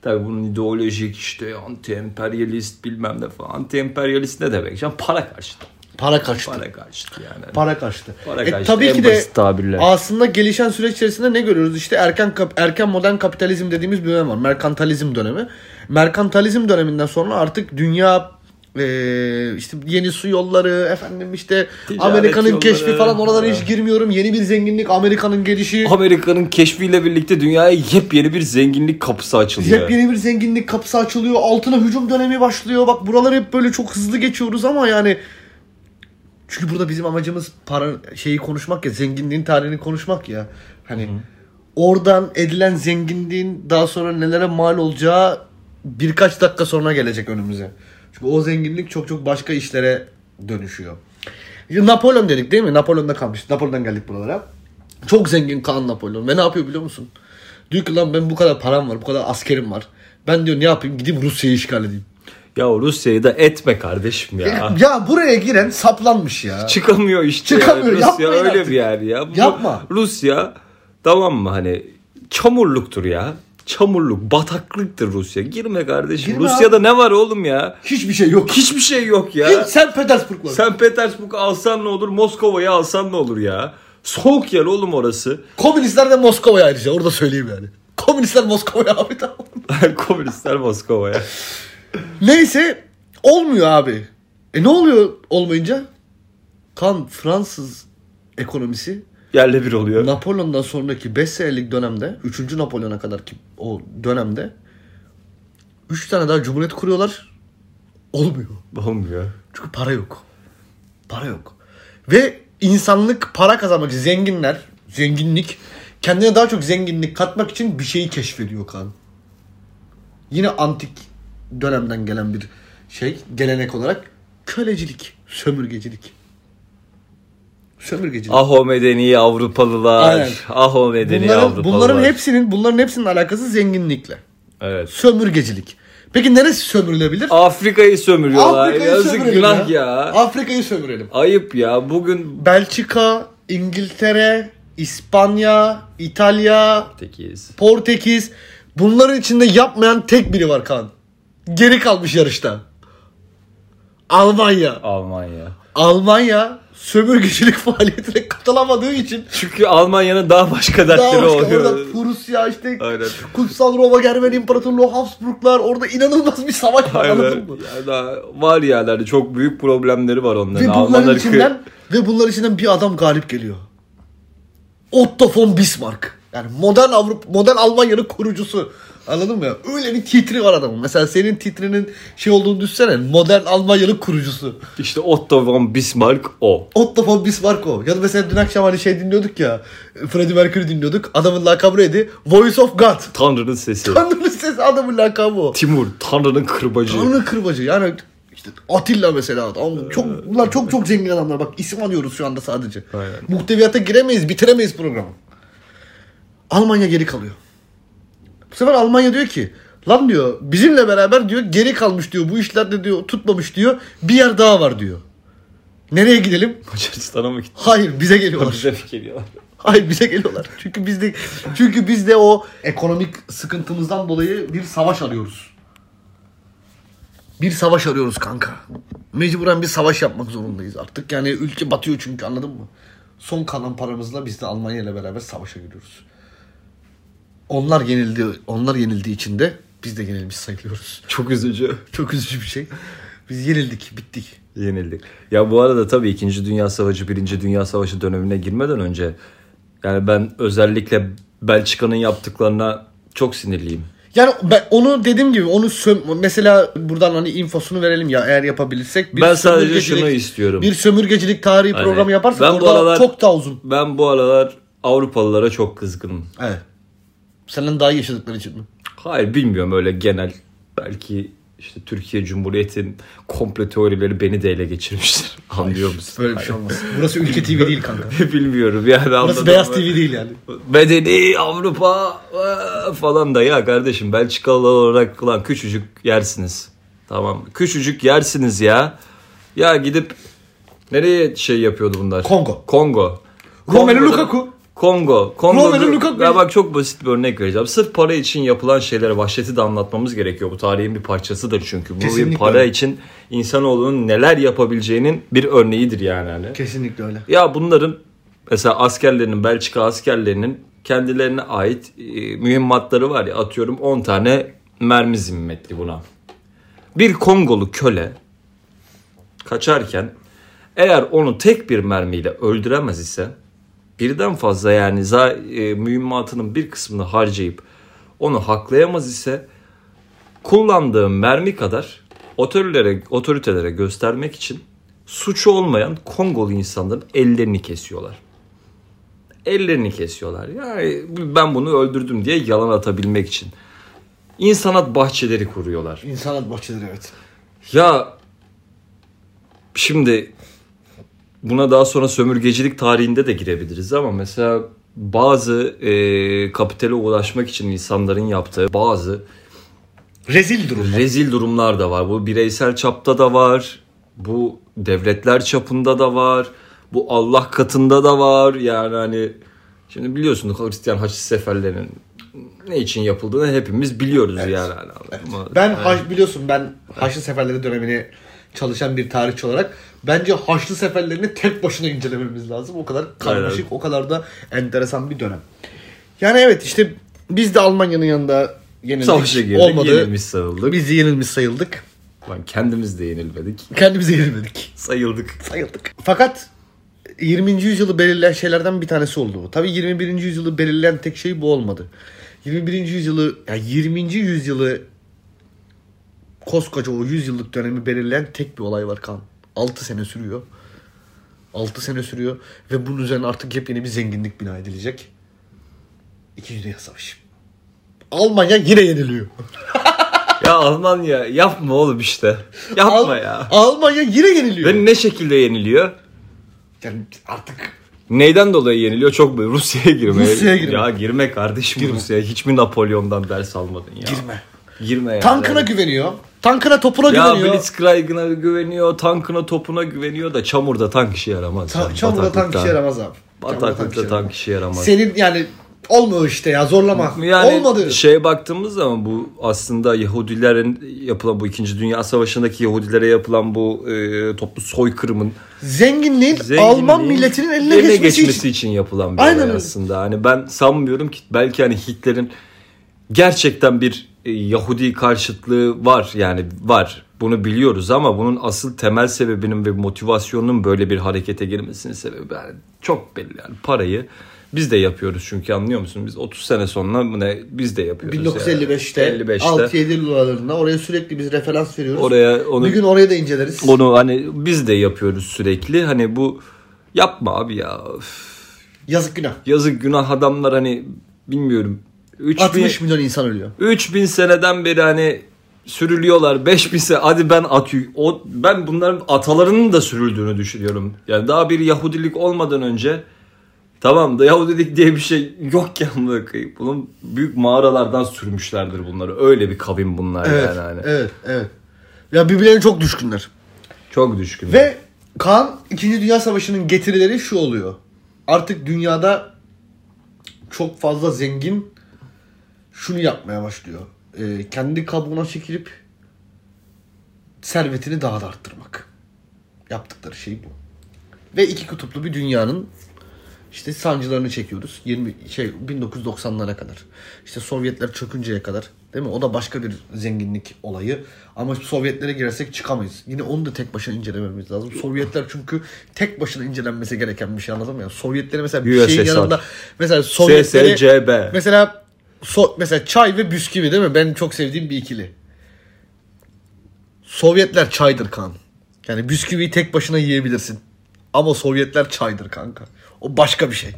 [SPEAKER 2] Tabii bunun ideolojik işte anti-emperyalist bilmem ne falan. Anti-emperyalist ne demek? Yani para karşıtı.
[SPEAKER 1] Para kaçtı.
[SPEAKER 2] Para karşıtı yani.
[SPEAKER 1] Para kaçtı.
[SPEAKER 2] Para
[SPEAKER 1] E,
[SPEAKER 2] kaçtı,
[SPEAKER 1] tabii
[SPEAKER 2] en
[SPEAKER 1] ki de
[SPEAKER 2] basit tabirle.
[SPEAKER 1] aslında gelişen süreç içerisinde ne görüyoruz? İşte erken kap- erken modern kapitalizm dediğimiz bir dönem var. Merkantalizm dönemi. Merkantalizm döneminden sonra artık dünya e, işte yeni su yolları efendim işte
[SPEAKER 2] Ticaret
[SPEAKER 1] Amerika'nın
[SPEAKER 2] yolları.
[SPEAKER 1] keşfi falan oralara hiç girmiyorum. Yeni bir zenginlik Amerika'nın gelişi.
[SPEAKER 2] Amerika'nın keşfiyle birlikte dünyaya yepyeni bir zenginlik kapısı açılıyor.
[SPEAKER 1] Yepyeni bir zenginlik kapısı açılıyor. Altına hücum dönemi başlıyor. Bak buraları hep böyle çok hızlı geçiyoruz ama yani çünkü burada bizim amacımız para şeyi konuşmak ya zenginliğin tarihini konuşmak ya. Hani oradan edilen zenginliğin daha sonra nelere mal olacağı birkaç dakika sonra gelecek önümüze. Çünkü o zenginlik çok çok başka işlere dönüşüyor. Ya Napolyon dedik değil mi? Napolyon'da kalmıştık. Napolyon'dan geldik buralara. Çok zengin Kaan Napolyon. Ve ne yapıyor biliyor musun? Diyor ki lan ben bu kadar param var, bu kadar askerim var. Ben diyor ne yapayım? Gideyim Rusya'yı işgal edeyim.
[SPEAKER 2] Ya Rusya'yı da etme kardeşim ya.
[SPEAKER 1] Ya buraya giren saplanmış ya.
[SPEAKER 2] Çıkamıyor işte.
[SPEAKER 1] Çıkamıyor,
[SPEAKER 2] Yani. Rusya
[SPEAKER 1] yapmayın
[SPEAKER 2] öyle
[SPEAKER 1] artık.
[SPEAKER 2] bir yer ya. Bu-
[SPEAKER 1] Yapma.
[SPEAKER 2] Rusya tamam mı hani çamurluktur ya. Çamurluk, bataklıktır Rusya. Girme kardeşim.
[SPEAKER 1] Girme
[SPEAKER 2] Rusya'da ne var oğlum ya?
[SPEAKER 1] Hiçbir şey yok.
[SPEAKER 2] Hiçbir şey yok ya.
[SPEAKER 1] Hiç sen Petersburg var.
[SPEAKER 2] Sen Petersburg'u alsan ne olur? Moskova'yı alsan ne olur ya? Soğuk yer oğlum orası.
[SPEAKER 1] Komünistler de Moskova'ya ayrıca. Orada söyleyeyim yani. Komünistler Moskova'ya abi tamam.
[SPEAKER 2] Komünistler Moskova'ya.
[SPEAKER 1] Neyse olmuyor abi. E ne oluyor olmayınca? Kan Fransız ekonomisi
[SPEAKER 2] Yerle bir oluyor.
[SPEAKER 1] Napolyon'dan sonraki 5 senelik dönemde 3. Napolyon'a kadar ki o dönemde 3 tane daha cumhuriyet kuruyorlar. Olmuyor.
[SPEAKER 2] Olmuyor.
[SPEAKER 1] Çünkü para yok. Para yok. Ve insanlık para kazanmak için zenginler, zenginlik kendine daha çok zenginlik katmak için bir şeyi keşfediyor Kaan. Yine antik dönemden gelen bir şey, gelenek olarak kölecilik, sömürgecilik. Sömürgecilik.
[SPEAKER 2] Ah o medeni Avrupalılar.
[SPEAKER 1] Aynen.
[SPEAKER 2] Ah o medeni
[SPEAKER 1] bunların,
[SPEAKER 2] Avrupalılar.
[SPEAKER 1] bunların hepsinin bunların hepsinin alakası zenginlikle.
[SPEAKER 2] Evet.
[SPEAKER 1] Sömürgecilik. Peki neresi sömürülebilir?
[SPEAKER 2] Afrika'yı sömürüyorlar.
[SPEAKER 1] Afrika'yı
[SPEAKER 2] Yazık
[SPEAKER 1] sömürelim
[SPEAKER 2] günah ya.
[SPEAKER 1] Afrika'yı sömürelim.
[SPEAKER 2] Ayıp ya. Bugün
[SPEAKER 1] Belçika, İngiltere, İspanya, İtalya,
[SPEAKER 2] Tekiz.
[SPEAKER 1] Portekiz. Bunların içinde yapmayan tek biri var Kaan. Geri kalmış yarışta. Almanya.
[SPEAKER 2] Almanya.
[SPEAKER 1] Almanya sömürgecilik faaliyetine katılamadığı için
[SPEAKER 2] Çünkü Almanya'nın daha başka
[SPEAKER 1] daha
[SPEAKER 2] dertleri
[SPEAKER 1] başka
[SPEAKER 2] oluyor.
[SPEAKER 1] orada Prusya işte
[SPEAKER 2] Aynen.
[SPEAKER 1] Kutsal Roma Germen İmparatorluğu Habsburglar orada inanılmaz bir savaş var
[SPEAKER 2] Aynen.
[SPEAKER 1] anladın mı?
[SPEAKER 2] Ya da var yerlerde çok büyük problemleri var onların.
[SPEAKER 1] Ve bunların
[SPEAKER 2] Almanlar kı-
[SPEAKER 1] içinden ve bunların içinden bir adam galip geliyor. Otto von Bismarck. Yani modern Avrupa, modern Almanya'nın kurucusu. Anladın mı ya? Öyle bir titri var adamın. Mesela senin titrinin şey olduğunu düşünsene. Modern Almanya'nın kurucusu.
[SPEAKER 2] İşte Otto von Bismarck o.
[SPEAKER 1] Otto von Bismarck o. Ya da mesela dün akşam hani şey dinliyorduk ya. Freddie Mercury dinliyorduk. Adamın lakabı neydi? Voice of God.
[SPEAKER 2] Tanrı'nın sesi.
[SPEAKER 1] Tanrı'nın sesi adamın lakabı o.
[SPEAKER 2] Timur, Tanrı'nın kırbacı.
[SPEAKER 1] Tanrı kırbacı yani işte Atilla mesela adam çok bunlar çok çok zengin adamlar bak isim alıyoruz şu anda sadece.
[SPEAKER 2] Aynen.
[SPEAKER 1] Muhteviyata giremeyiz bitiremeyiz programı. Almanya geri kalıyor. Bu sefer Almanya diyor ki lan diyor bizimle beraber diyor geri kalmış diyor bu işler de diyor tutmamış diyor bir yer daha var diyor. Nereye gidelim?
[SPEAKER 2] Macaristan'a mı gitti?
[SPEAKER 1] Hayır bize geliyorlar.
[SPEAKER 2] Bize mi geliyorlar?
[SPEAKER 1] Hayır bize geliyorlar. Çünkü biz de çünkü biz de o ekonomik sıkıntımızdan dolayı bir savaş arıyoruz. Bir savaş arıyoruz kanka. Mecburen bir savaş yapmak zorundayız artık. Yani ülke batıyor çünkü anladın mı? Son kalan paramızla biz de Almanya ile beraber savaşa giriyoruz. Onlar yenildi, onlar yenildiği için de biz de yenilmiş sayılıyoruz.
[SPEAKER 2] Çok üzücü.
[SPEAKER 1] Çok üzücü bir şey. Biz yenildik, bittik.
[SPEAKER 2] Yenildik. Ya bu arada tabii 2. Dünya Savaşı, 1. Dünya Savaşı dönemine girmeden önce yani ben özellikle Belçika'nın yaptıklarına çok sinirliyim.
[SPEAKER 1] Yani ben onu dediğim gibi onu söm- mesela buradan hani infosunu verelim ya eğer yapabilirsek.
[SPEAKER 2] Ben sadece şunu istiyorum.
[SPEAKER 1] Bir sömürgecilik tarihi
[SPEAKER 2] Hani
[SPEAKER 1] programı yaparsak
[SPEAKER 2] ben bu
[SPEAKER 1] orada
[SPEAKER 2] aralar-
[SPEAKER 1] çok daha uzun.
[SPEAKER 2] Ben bu aralar Avrupalılara çok kızgınım.
[SPEAKER 1] Evet. Senden daha iyi yaşadıkları için mi?
[SPEAKER 2] Hayır bilmiyorum öyle genel. Belki işte Türkiye Cumhuriyeti'nin komple teorileri beni de ele geçirmiştir. Anlıyor musun?
[SPEAKER 1] Böyle bir şey olmaz. Burası Ülke TV değil kanka.
[SPEAKER 2] bilmiyorum yani. anladın
[SPEAKER 1] Burası Beyaz
[SPEAKER 2] mı?
[SPEAKER 1] TV değil yani.
[SPEAKER 2] Medeni Avrupa eee, falan da ya kardeşim Belçikalı olarak lan küçücük yersiniz. Tamam küçücük yersiniz ya. Ya gidip nereye şey yapıyordu bunlar?
[SPEAKER 1] Kongo.
[SPEAKER 2] Kongo.
[SPEAKER 1] Romelu
[SPEAKER 2] Kongo'da-
[SPEAKER 1] Lukaku.
[SPEAKER 2] Kongo. Kongo.
[SPEAKER 1] Romelu Lukaku.
[SPEAKER 2] Ya bak çok basit bir örnek vereceğim. Sırf para için yapılan şeylere vahşeti de anlatmamız gerekiyor. Bu tarihin bir parçasıdır çünkü. Bu
[SPEAKER 1] Kesinlikle.
[SPEAKER 2] bir para için insanoğlunun neler yapabileceğinin bir örneğidir yani. Hani.
[SPEAKER 1] Kesinlikle öyle.
[SPEAKER 2] Ya bunların mesela askerlerinin Belçika askerlerinin kendilerine ait e, mühimmatları var ya atıyorum 10 tane mermi zimmetli buna. Bir Kongolu köle kaçarken eğer onu tek bir mermiyle öldüremez ise birden fazla yani za, e, mühimmatının bir kısmını harcayıp onu haklayamaz ise kullandığı mermi kadar otoritelere, otoritelere göstermek için suçu olmayan Kongolu insanların ellerini kesiyorlar. Ellerini kesiyorlar. Yani ben bunu öldürdüm diye yalan atabilmek için. İnsanat bahçeleri kuruyorlar.
[SPEAKER 1] İnsanat bahçeleri evet.
[SPEAKER 2] Ya şimdi buna daha sonra sömürgecilik tarihinde de girebiliriz ama mesela bazı e, kapitale ulaşmak için insanların yaptığı bazı
[SPEAKER 1] Rezil durum.
[SPEAKER 2] rezil durumlar da var. Bu bireysel çapta da var. Bu devletler çapında da var. Bu Allah katında da var. Yani hani şimdi biliyorsunuz Hristiyan Haçlı Seferlerinin ne için yapıldığını hepimiz biliyoruz yani. Hani, ama-
[SPEAKER 1] Ben haç biliyorsun ben Haçlı Seferleri dönemini çalışan bir tarihçi olarak bence Haçlı Seferlerini tek başına incelememiz lazım. O kadar karmaşık, o kadar da enteresan bir dönem. Yani evet işte biz de Almanya'nın yanında yenildik.
[SPEAKER 2] Savaşa girdik,
[SPEAKER 1] Olmadı.
[SPEAKER 2] yenilmiş sayıldık.
[SPEAKER 1] Biz de yenilmiş sayıldık.
[SPEAKER 2] Lan kendimiz de yenilmedik.
[SPEAKER 1] Kendimize yenilmedik.
[SPEAKER 2] Sayıldık.
[SPEAKER 1] Sayıldık. Fakat 20. yüzyılı belirleyen şeylerden bir tanesi oldu bu. Tabii 21. yüzyılı belirleyen tek şey bu olmadı. 21. yüzyılı, yani 20. yüzyılı koskoca o 100 yıllık dönemi belirleyen tek bir olay var kan. 6 sene sürüyor. 6 sene sürüyor ve bunun üzerine artık yepyeni bir zenginlik bina edilecek. İkinci Dünya Savaşı. Almanya yine yeniliyor.
[SPEAKER 2] Ya Almanya yapma oğlum işte. Yapma
[SPEAKER 1] Al-
[SPEAKER 2] ya.
[SPEAKER 1] Almanya yine yeniliyor.
[SPEAKER 2] Ve ne şekilde yeniliyor?
[SPEAKER 1] Yani artık
[SPEAKER 2] Neyden dolayı yeniliyor? Çok böyle Rusya'ya girmeye.
[SPEAKER 1] Rusya'ya girme.
[SPEAKER 2] Ya girme kardeşim Rusya'ya. Hiç mi Napolyon'dan ders almadın ya?
[SPEAKER 1] girme.
[SPEAKER 2] Girme ya.
[SPEAKER 1] Tankına güveniyor. Tankına topuna
[SPEAKER 2] Ya
[SPEAKER 1] güveniyor.
[SPEAKER 2] Blitzkrieg'ına güveniyor, tankına, topuna güveniyor da çamurda tank işe yaramaz.
[SPEAKER 1] Ta-
[SPEAKER 2] ya.
[SPEAKER 1] Çamurda tank
[SPEAKER 2] Bataklıkta-
[SPEAKER 1] işe yaramaz abi. Çamurda
[SPEAKER 2] Bataklıkta
[SPEAKER 1] işe şey yaramaz.
[SPEAKER 2] tank işe yaramaz.
[SPEAKER 1] Senin yani olmuyor işte ya zorlama.
[SPEAKER 2] Yani şey-
[SPEAKER 1] Olmadı.
[SPEAKER 2] şeye baktığımız zaman bu aslında Yahudilerin yapılan bu 2. Dünya Savaşı'ndaki Yahudilere yapılan bu e, toplu soykırımın
[SPEAKER 1] Zenginliğin,
[SPEAKER 2] zenginliğin
[SPEAKER 1] Alman milletinin eline,
[SPEAKER 2] eline
[SPEAKER 1] geçmesi,
[SPEAKER 2] geçmesi
[SPEAKER 1] için.
[SPEAKER 2] için. yapılan bir
[SPEAKER 1] Aynen
[SPEAKER 2] olay
[SPEAKER 1] öyle.
[SPEAKER 2] aslında. Hani ben sanmıyorum ki belki hani Hitler'in gerçekten bir e, Yahudi karşıtlığı var yani var. Bunu biliyoruz ama bunun asıl temel sebebinin ve motivasyonunun böyle bir harekete girmesinin sebebi yani çok belli yani parayı biz de yapıyoruz çünkü anlıyor musun? Biz 30 sene sonra bu ne biz de yapıyoruz.
[SPEAKER 1] 1955'te,
[SPEAKER 2] yani. 55'te.
[SPEAKER 1] 6-7 dolarlarında oraya sürekli biz referans veriyoruz.
[SPEAKER 2] Oraya onu-
[SPEAKER 1] Bir gün oraya da inceleriz.
[SPEAKER 2] Onu hani biz de yapıyoruz sürekli. Hani bu yapma abi ya. Üf.
[SPEAKER 1] Yazık günah.
[SPEAKER 2] Yazık günah adamlar hani bilmiyorum. 3000
[SPEAKER 1] 60 milyon insan ölüyor.
[SPEAKER 2] 3000 seneden beri hani sürülüyorlar. 5000 sene hadi ben at o ben bunların atalarının da sürüldüğünü düşünüyorum. Yani daha bir Yahudilik olmadan önce tamam da Yahudilik diye bir şey yok ya amına koyayım. Bunun büyük mağaralardan sürmüşlerdir bunları. Öyle bir kavim bunlar
[SPEAKER 1] Evet,
[SPEAKER 2] yani hani.
[SPEAKER 1] evet, evet. Ya birbirlerine çok düşkünler.
[SPEAKER 2] Çok düşkün.
[SPEAKER 1] Ve Kaan 2. Dünya Savaşı'nın getirileri şu oluyor. Artık dünyada çok fazla zengin şunu yapmaya başlıyor. Ee, kendi kabuğuna çekilip servetini daha da arttırmak. Yaptıkları şey bu. Ve iki kutuplu bir dünyanın işte sancılarını çekiyoruz. 20 şey 1990'lara kadar. İşte Sovyetler çökünceye kadar. Değil mi? O da başka bir zenginlik olayı. Ama Sovyetlere girersek çıkamayız. Yine onu da tek başına incelememiz lazım. Sovyetler çünkü tek başına incelenmesi gereken bir şey anladın mı? Yani Sovyetleri mesela bir şeyin
[SPEAKER 2] USSR.
[SPEAKER 1] yanında mesela Sovyetleri
[SPEAKER 2] SSCB.
[SPEAKER 1] mesela so, mesela çay ve bisküvi değil mi? Ben çok sevdiğim bir ikili. Sovyetler çaydır kan. Yani bisküviyi tek başına yiyebilirsin. Ama Sovyetler çaydır kanka. O başka bir şey.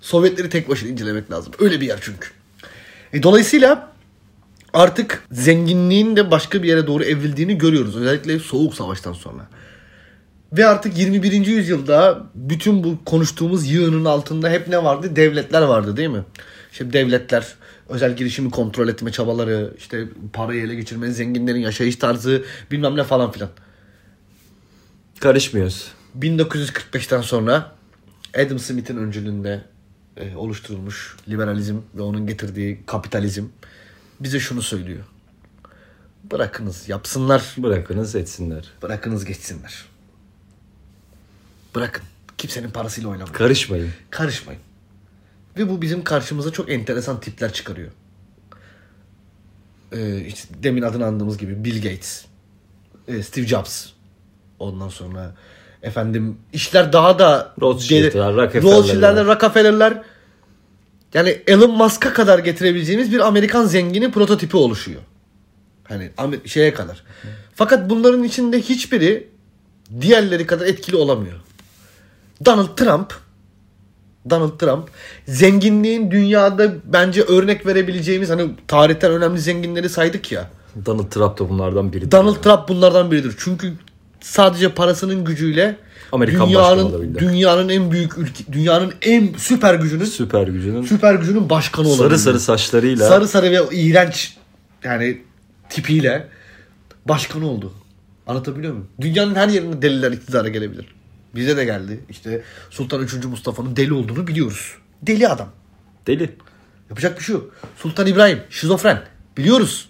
[SPEAKER 1] Sovyetleri tek başına incelemek lazım. Öyle bir yer çünkü. E, dolayısıyla artık zenginliğin de başka bir yere doğru evrildiğini görüyoruz. Özellikle Soğuk Savaş'tan sonra. Ve artık 21. yüzyılda bütün bu konuştuğumuz yığının altında hep ne vardı? Devletler vardı değil mi? İşte devletler, özel girişimi kontrol etme çabaları, işte parayı ele geçirme, zenginlerin yaşayış tarzı bilmem ne falan filan.
[SPEAKER 2] Karışmıyoruz.
[SPEAKER 1] 1945'ten sonra Adam Smith'in öncülüğünde e, oluşturulmuş liberalizm ve onun getirdiği kapitalizm bize şunu söylüyor. Bırakınız yapsınlar,
[SPEAKER 2] Bırakınız etsinler.
[SPEAKER 1] bırakınız geçsinler. Bırakın. Kimsenin parasıyla oynamayın.
[SPEAKER 2] Karışmayın.
[SPEAKER 1] Karışmayın. Ve bu bizim karşımıza çok enteresan tipler çıkarıyor. Ee, işte demin adını andığımız gibi Bill Gates, e, Steve Jobs. Ondan sonra efendim işler daha da
[SPEAKER 2] Rothschild'ler,
[SPEAKER 1] geri-
[SPEAKER 2] Rockefeller'ler.
[SPEAKER 1] Rothschild'ler, Rockefeller'ler yani Elon Musk'a kadar getirebileceğimiz bir Amerikan zengini prototipi oluşuyor. Hani Amer- şeye kadar. Fakat bunların içinde hiçbiri diğerleri kadar etkili olamıyor. Donald Trump Donald Trump zenginliğin dünyada bence örnek verebileceğimiz hani tarihten önemli zenginleri saydık ya.
[SPEAKER 2] Donald Trump da bunlardan biri.
[SPEAKER 1] Donald Trump bunlardan biridir. Çünkü sadece parasının gücüyle
[SPEAKER 2] Amerikan başkanı
[SPEAKER 1] dünyanın
[SPEAKER 2] olabildi.
[SPEAKER 1] dünyanın en büyük ülke dünyanın en süper gücünün
[SPEAKER 2] süper gücünün
[SPEAKER 1] süper gücünün başkanı olabildi.
[SPEAKER 2] sarı sarı saçlarıyla
[SPEAKER 1] sarı sarı ve iğrenç yani tipiyle başkan oldu. Anlatabiliyor muyum? Dünyanın her yerinde deliler iktidara gelebilir. Bize de geldi. İşte Sultan 3. Mustafa'nın deli olduğunu biliyoruz. Deli adam.
[SPEAKER 2] deli.
[SPEAKER 1] Yapacak bir şey yok. Sultan İbrahim şizofren. Biliyoruz.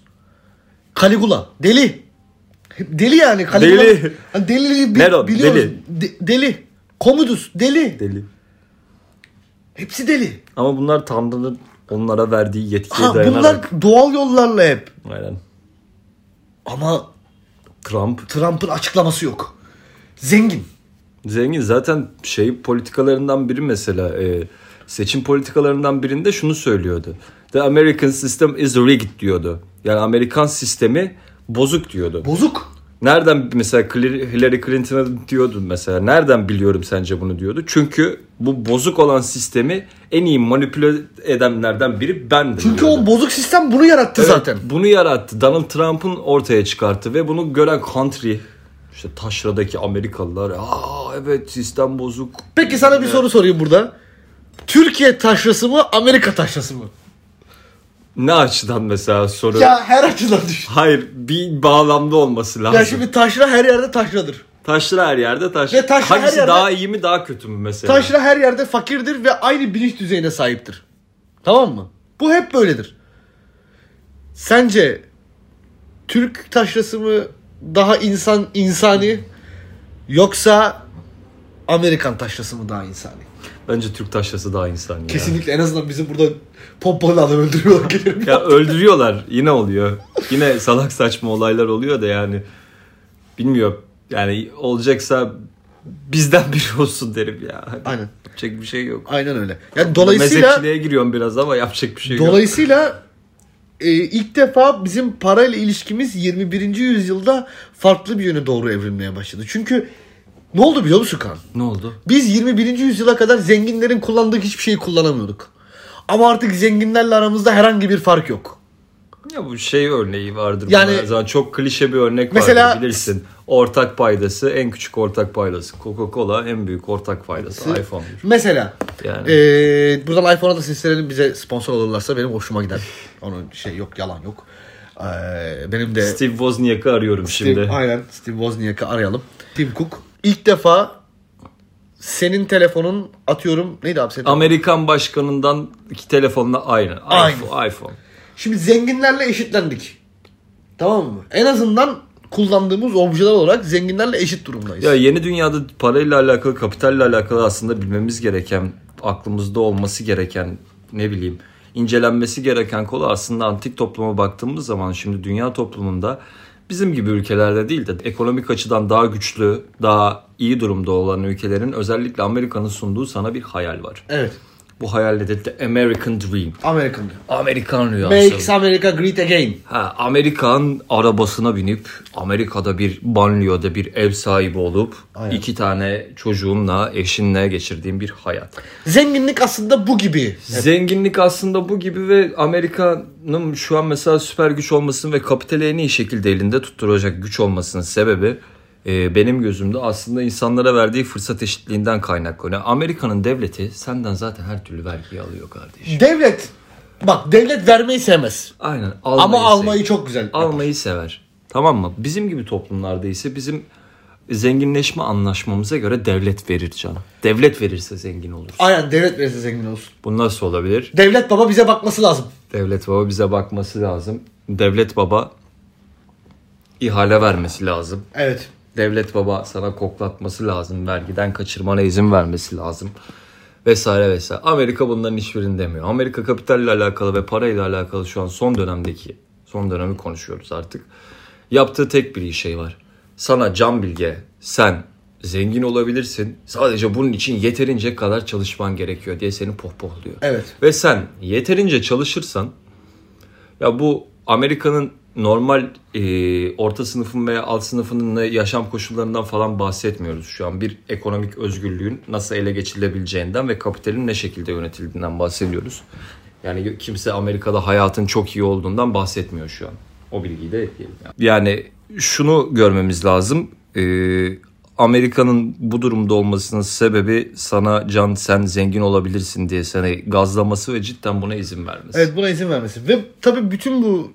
[SPEAKER 1] Caligula deli. Hep Deli yani. Caligula.
[SPEAKER 2] Deli.
[SPEAKER 1] Hani Deli. bi-
[SPEAKER 2] Nero,
[SPEAKER 1] biliyoruz.
[SPEAKER 2] deli.
[SPEAKER 1] De- deli. Komodus deli.
[SPEAKER 2] Deli.
[SPEAKER 1] Hepsi deli.
[SPEAKER 2] Ama bunlar Tanrı'nın onlara verdiği yetkiye
[SPEAKER 1] Ha,
[SPEAKER 2] dayanarak.
[SPEAKER 1] bunlar doğal yollarla hep.
[SPEAKER 2] Aynen.
[SPEAKER 1] Ama
[SPEAKER 2] Trump
[SPEAKER 1] Trump'ın açıklaması yok. Zengin.
[SPEAKER 2] zengin zaten şey politikalarından biri mesela e, seçim politikalarından birinde şunu söylüyordu. The American system is rigged diyordu. Yani Amerikan sistemi bozuk diyordu.
[SPEAKER 1] Bozuk.
[SPEAKER 2] Nereden mesela Clir- Hillary Clinton'a diyordun mesela nereden biliyorum sence bunu diyordu. Çünkü bu bozuk olan sistemi en iyi manipüle edenlerden biri bendim.
[SPEAKER 1] Çünkü
[SPEAKER 2] diyordu.
[SPEAKER 1] o bozuk sistem bunu yarattı
[SPEAKER 2] Evet,
[SPEAKER 1] zaten.
[SPEAKER 2] Bunu yarattı. Donald Trump'ın ortaya çıkarttı ve bunu gören country işte taşradaki Amerikalılar aa evet sistem bozuk.
[SPEAKER 1] Peki sana bir soru sorayım burada. Türkiye taşrası mı Amerika taşrası mı?
[SPEAKER 2] Ne açıdan mesela soru?
[SPEAKER 1] Ya her açıdan düşün.
[SPEAKER 2] Hayır bir bağlamda olması lazım.
[SPEAKER 1] Ya şimdi taşra her yerde taşradır.
[SPEAKER 2] Taşra her yerde taş.
[SPEAKER 1] Ve taşra her
[SPEAKER 2] Hangisi
[SPEAKER 1] yerde-
[SPEAKER 2] daha iyi mi daha kötü mü mesela?
[SPEAKER 1] Taşra her yerde fakirdir ve aynı bilinç düzeyine sahiptir. Tamam mı? Bu hep böyledir. Sence Türk taşrası mı daha insan insani yoksa Amerikan taşrası mı daha insani?
[SPEAKER 2] Bence Türk taşrası daha insani. ya.
[SPEAKER 1] Kesinlikle en azından bizi burada pompalı adam öldürüyorlar gelirim.
[SPEAKER 2] Ya öldürüyorlar yine oluyor. Yine salak saçma olaylar oluyor da yani. Bilmiyorum. Yani olacaksa bizden biri olsun derim ya. Hani
[SPEAKER 1] Aynen.
[SPEAKER 2] Yapacak bir şey yok.
[SPEAKER 1] Aynen öyle. Yani dolayısıyla
[SPEAKER 2] Mezhepçiliğe giriyorum biraz ama yapacak bir şey yok.
[SPEAKER 1] dolayısıyla e, ilk defa bizim parayla ilişkimiz 21. yüzyılda farklı bir yöne doğru evrilmeye başladı. Çünkü ne oldu biliyor musun Kaan?
[SPEAKER 2] Ne oldu?
[SPEAKER 1] Biz 21. yüzyıla kadar zenginlerin kullandığı hiçbir şeyi kullanamıyorduk. Ama artık zenginlerle aramızda herhangi bir fark yok.
[SPEAKER 2] Ya bu şey örneği vardır.
[SPEAKER 1] Yani-
[SPEAKER 2] Yani zaman çok klişe bir örnek
[SPEAKER 1] Mesela-
[SPEAKER 2] vardır bilirsin. Ortak paydası en küçük ortak paydası. Coca-Cola en büyük ortak paydası. iPhone.
[SPEAKER 1] Mesela
[SPEAKER 2] Yani.
[SPEAKER 1] eee, buradan iPhone'a da seslenelim bize sponsor olurlarsa benim hoşuma gider. Onun şey yok yalan yok. Eee, benim de
[SPEAKER 2] Steve Wozniak'ı arıyorum
[SPEAKER 1] Steve-
[SPEAKER 2] şimdi.
[SPEAKER 1] aynen Steve Wozniak'ı arayalım. Tim Cook ilk defa senin telefonun atıyorum neydi abi senin?
[SPEAKER 2] Amerikan başkanından iki telefonla aynı.
[SPEAKER 1] Aynı.
[SPEAKER 2] iPhone. iPhone.
[SPEAKER 1] Şimdi zenginlerle eşitlendik. Tamam mı? En azından kullandığımız objeler olarak zenginlerle eşit durumdayız.
[SPEAKER 2] Ya yeni dünyada parayla alakalı, kapitalle alakalı aslında bilmemiz gereken, aklımızda olması gereken, ne bileyim, incelenmesi gereken konu aslında antik topluma baktığımız zaman şimdi dünya toplumunda bizim gibi ülkelerde değil de ekonomik açıdan daha güçlü, daha iyi durumda olan ülkelerin özellikle Amerika'nın sunduğu sana bir hayal var.
[SPEAKER 1] Evet.
[SPEAKER 2] Bu hayal nedir? The American Dream.
[SPEAKER 1] Amerikan.
[SPEAKER 2] Amerikan rüyası.
[SPEAKER 1] Makes America Great Again.
[SPEAKER 2] Ha, Amerikan arabasına binip Amerika'da bir banliyöde bir ev sahibi olup iki tane çocuğumla eşinle geçirdiğim bir hayat.
[SPEAKER 1] Zenginlik aslında bu gibi.
[SPEAKER 2] Zenginlik aslında bu gibi ve Amerika'nın şu an mesela süper güç olmasının ve kapitali en iyi şekilde elinde tutturacak güç olmasının sebebi e, benim gözümde aslında insanlara verdiği fırsat eşitliğinden kaynaklanıyor. Amerika'nın devleti senden zaten her türlü vergiyi alıyor kardeşim.
[SPEAKER 1] Devlet bak devlet vermeyi sevmez.
[SPEAKER 2] Aynen.
[SPEAKER 1] Ama
[SPEAKER 2] almayı
[SPEAKER 1] almayı
[SPEAKER 2] seviyor.
[SPEAKER 1] çok güzel.
[SPEAKER 2] almayı sever. Tamam mı? Bizim gibi toplumlarda ise bizim zenginleşme anlaşmamıza göre devlet verir canım. Devlet verirse zengin olur.
[SPEAKER 1] Aynen devlet verirse zengin olsun.
[SPEAKER 2] Bu nasıl olabilir?
[SPEAKER 1] Devlet baba bize bakması lazım.
[SPEAKER 2] Devlet baba bize bakması lazım. Devlet baba ihale vermesi lazım.
[SPEAKER 1] Evet.
[SPEAKER 2] Devlet baba sana koklatması lazım. Vergiden kaçırmana izin vermesi lazım. Vesaire vesaire. Amerika bunların hiçbirini demiyor. Amerika kapitalle alakalı ve parayla alakalı şu an son dönemdeki, son dönemi konuşuyoruz artık. Yaptığı tek bir şey var. Sana can bilge, sen zengin olabilirsin. Sadece bunun için yeterince kadar çalışman gerekiyor diye seni pohpohluyor.
[SPEAKER 1] Evet.
[SPEAKER 2] Ve sen yeterince çalışırsan ya bu Amerika'nın normal e, orta sınıfın veya alt sınıfının ne- yaşam koşullarından falan bahsetmiyoruz şu an. Bir ekonomik özgürlüğün nasıl ele geçirilebileceğinden ve kapitalin ne şekilde yönetildiğinden bahsediyoruz. Yani kimse Amerika'da hayatın çok iyi olduğundan bahsetmiyor şu an. O bilgiyi de ekleyelim. Yani, yani şunu görmemiz lazım. E, Amerika'nın bu durumda olmasının sebebi sana Can sen zengin olabilirsin diye seni gazlaması ve cidden buna izin vermesi.
[SPEAKER 1] Evet buna izin vermesi. Ve tabii bütün bu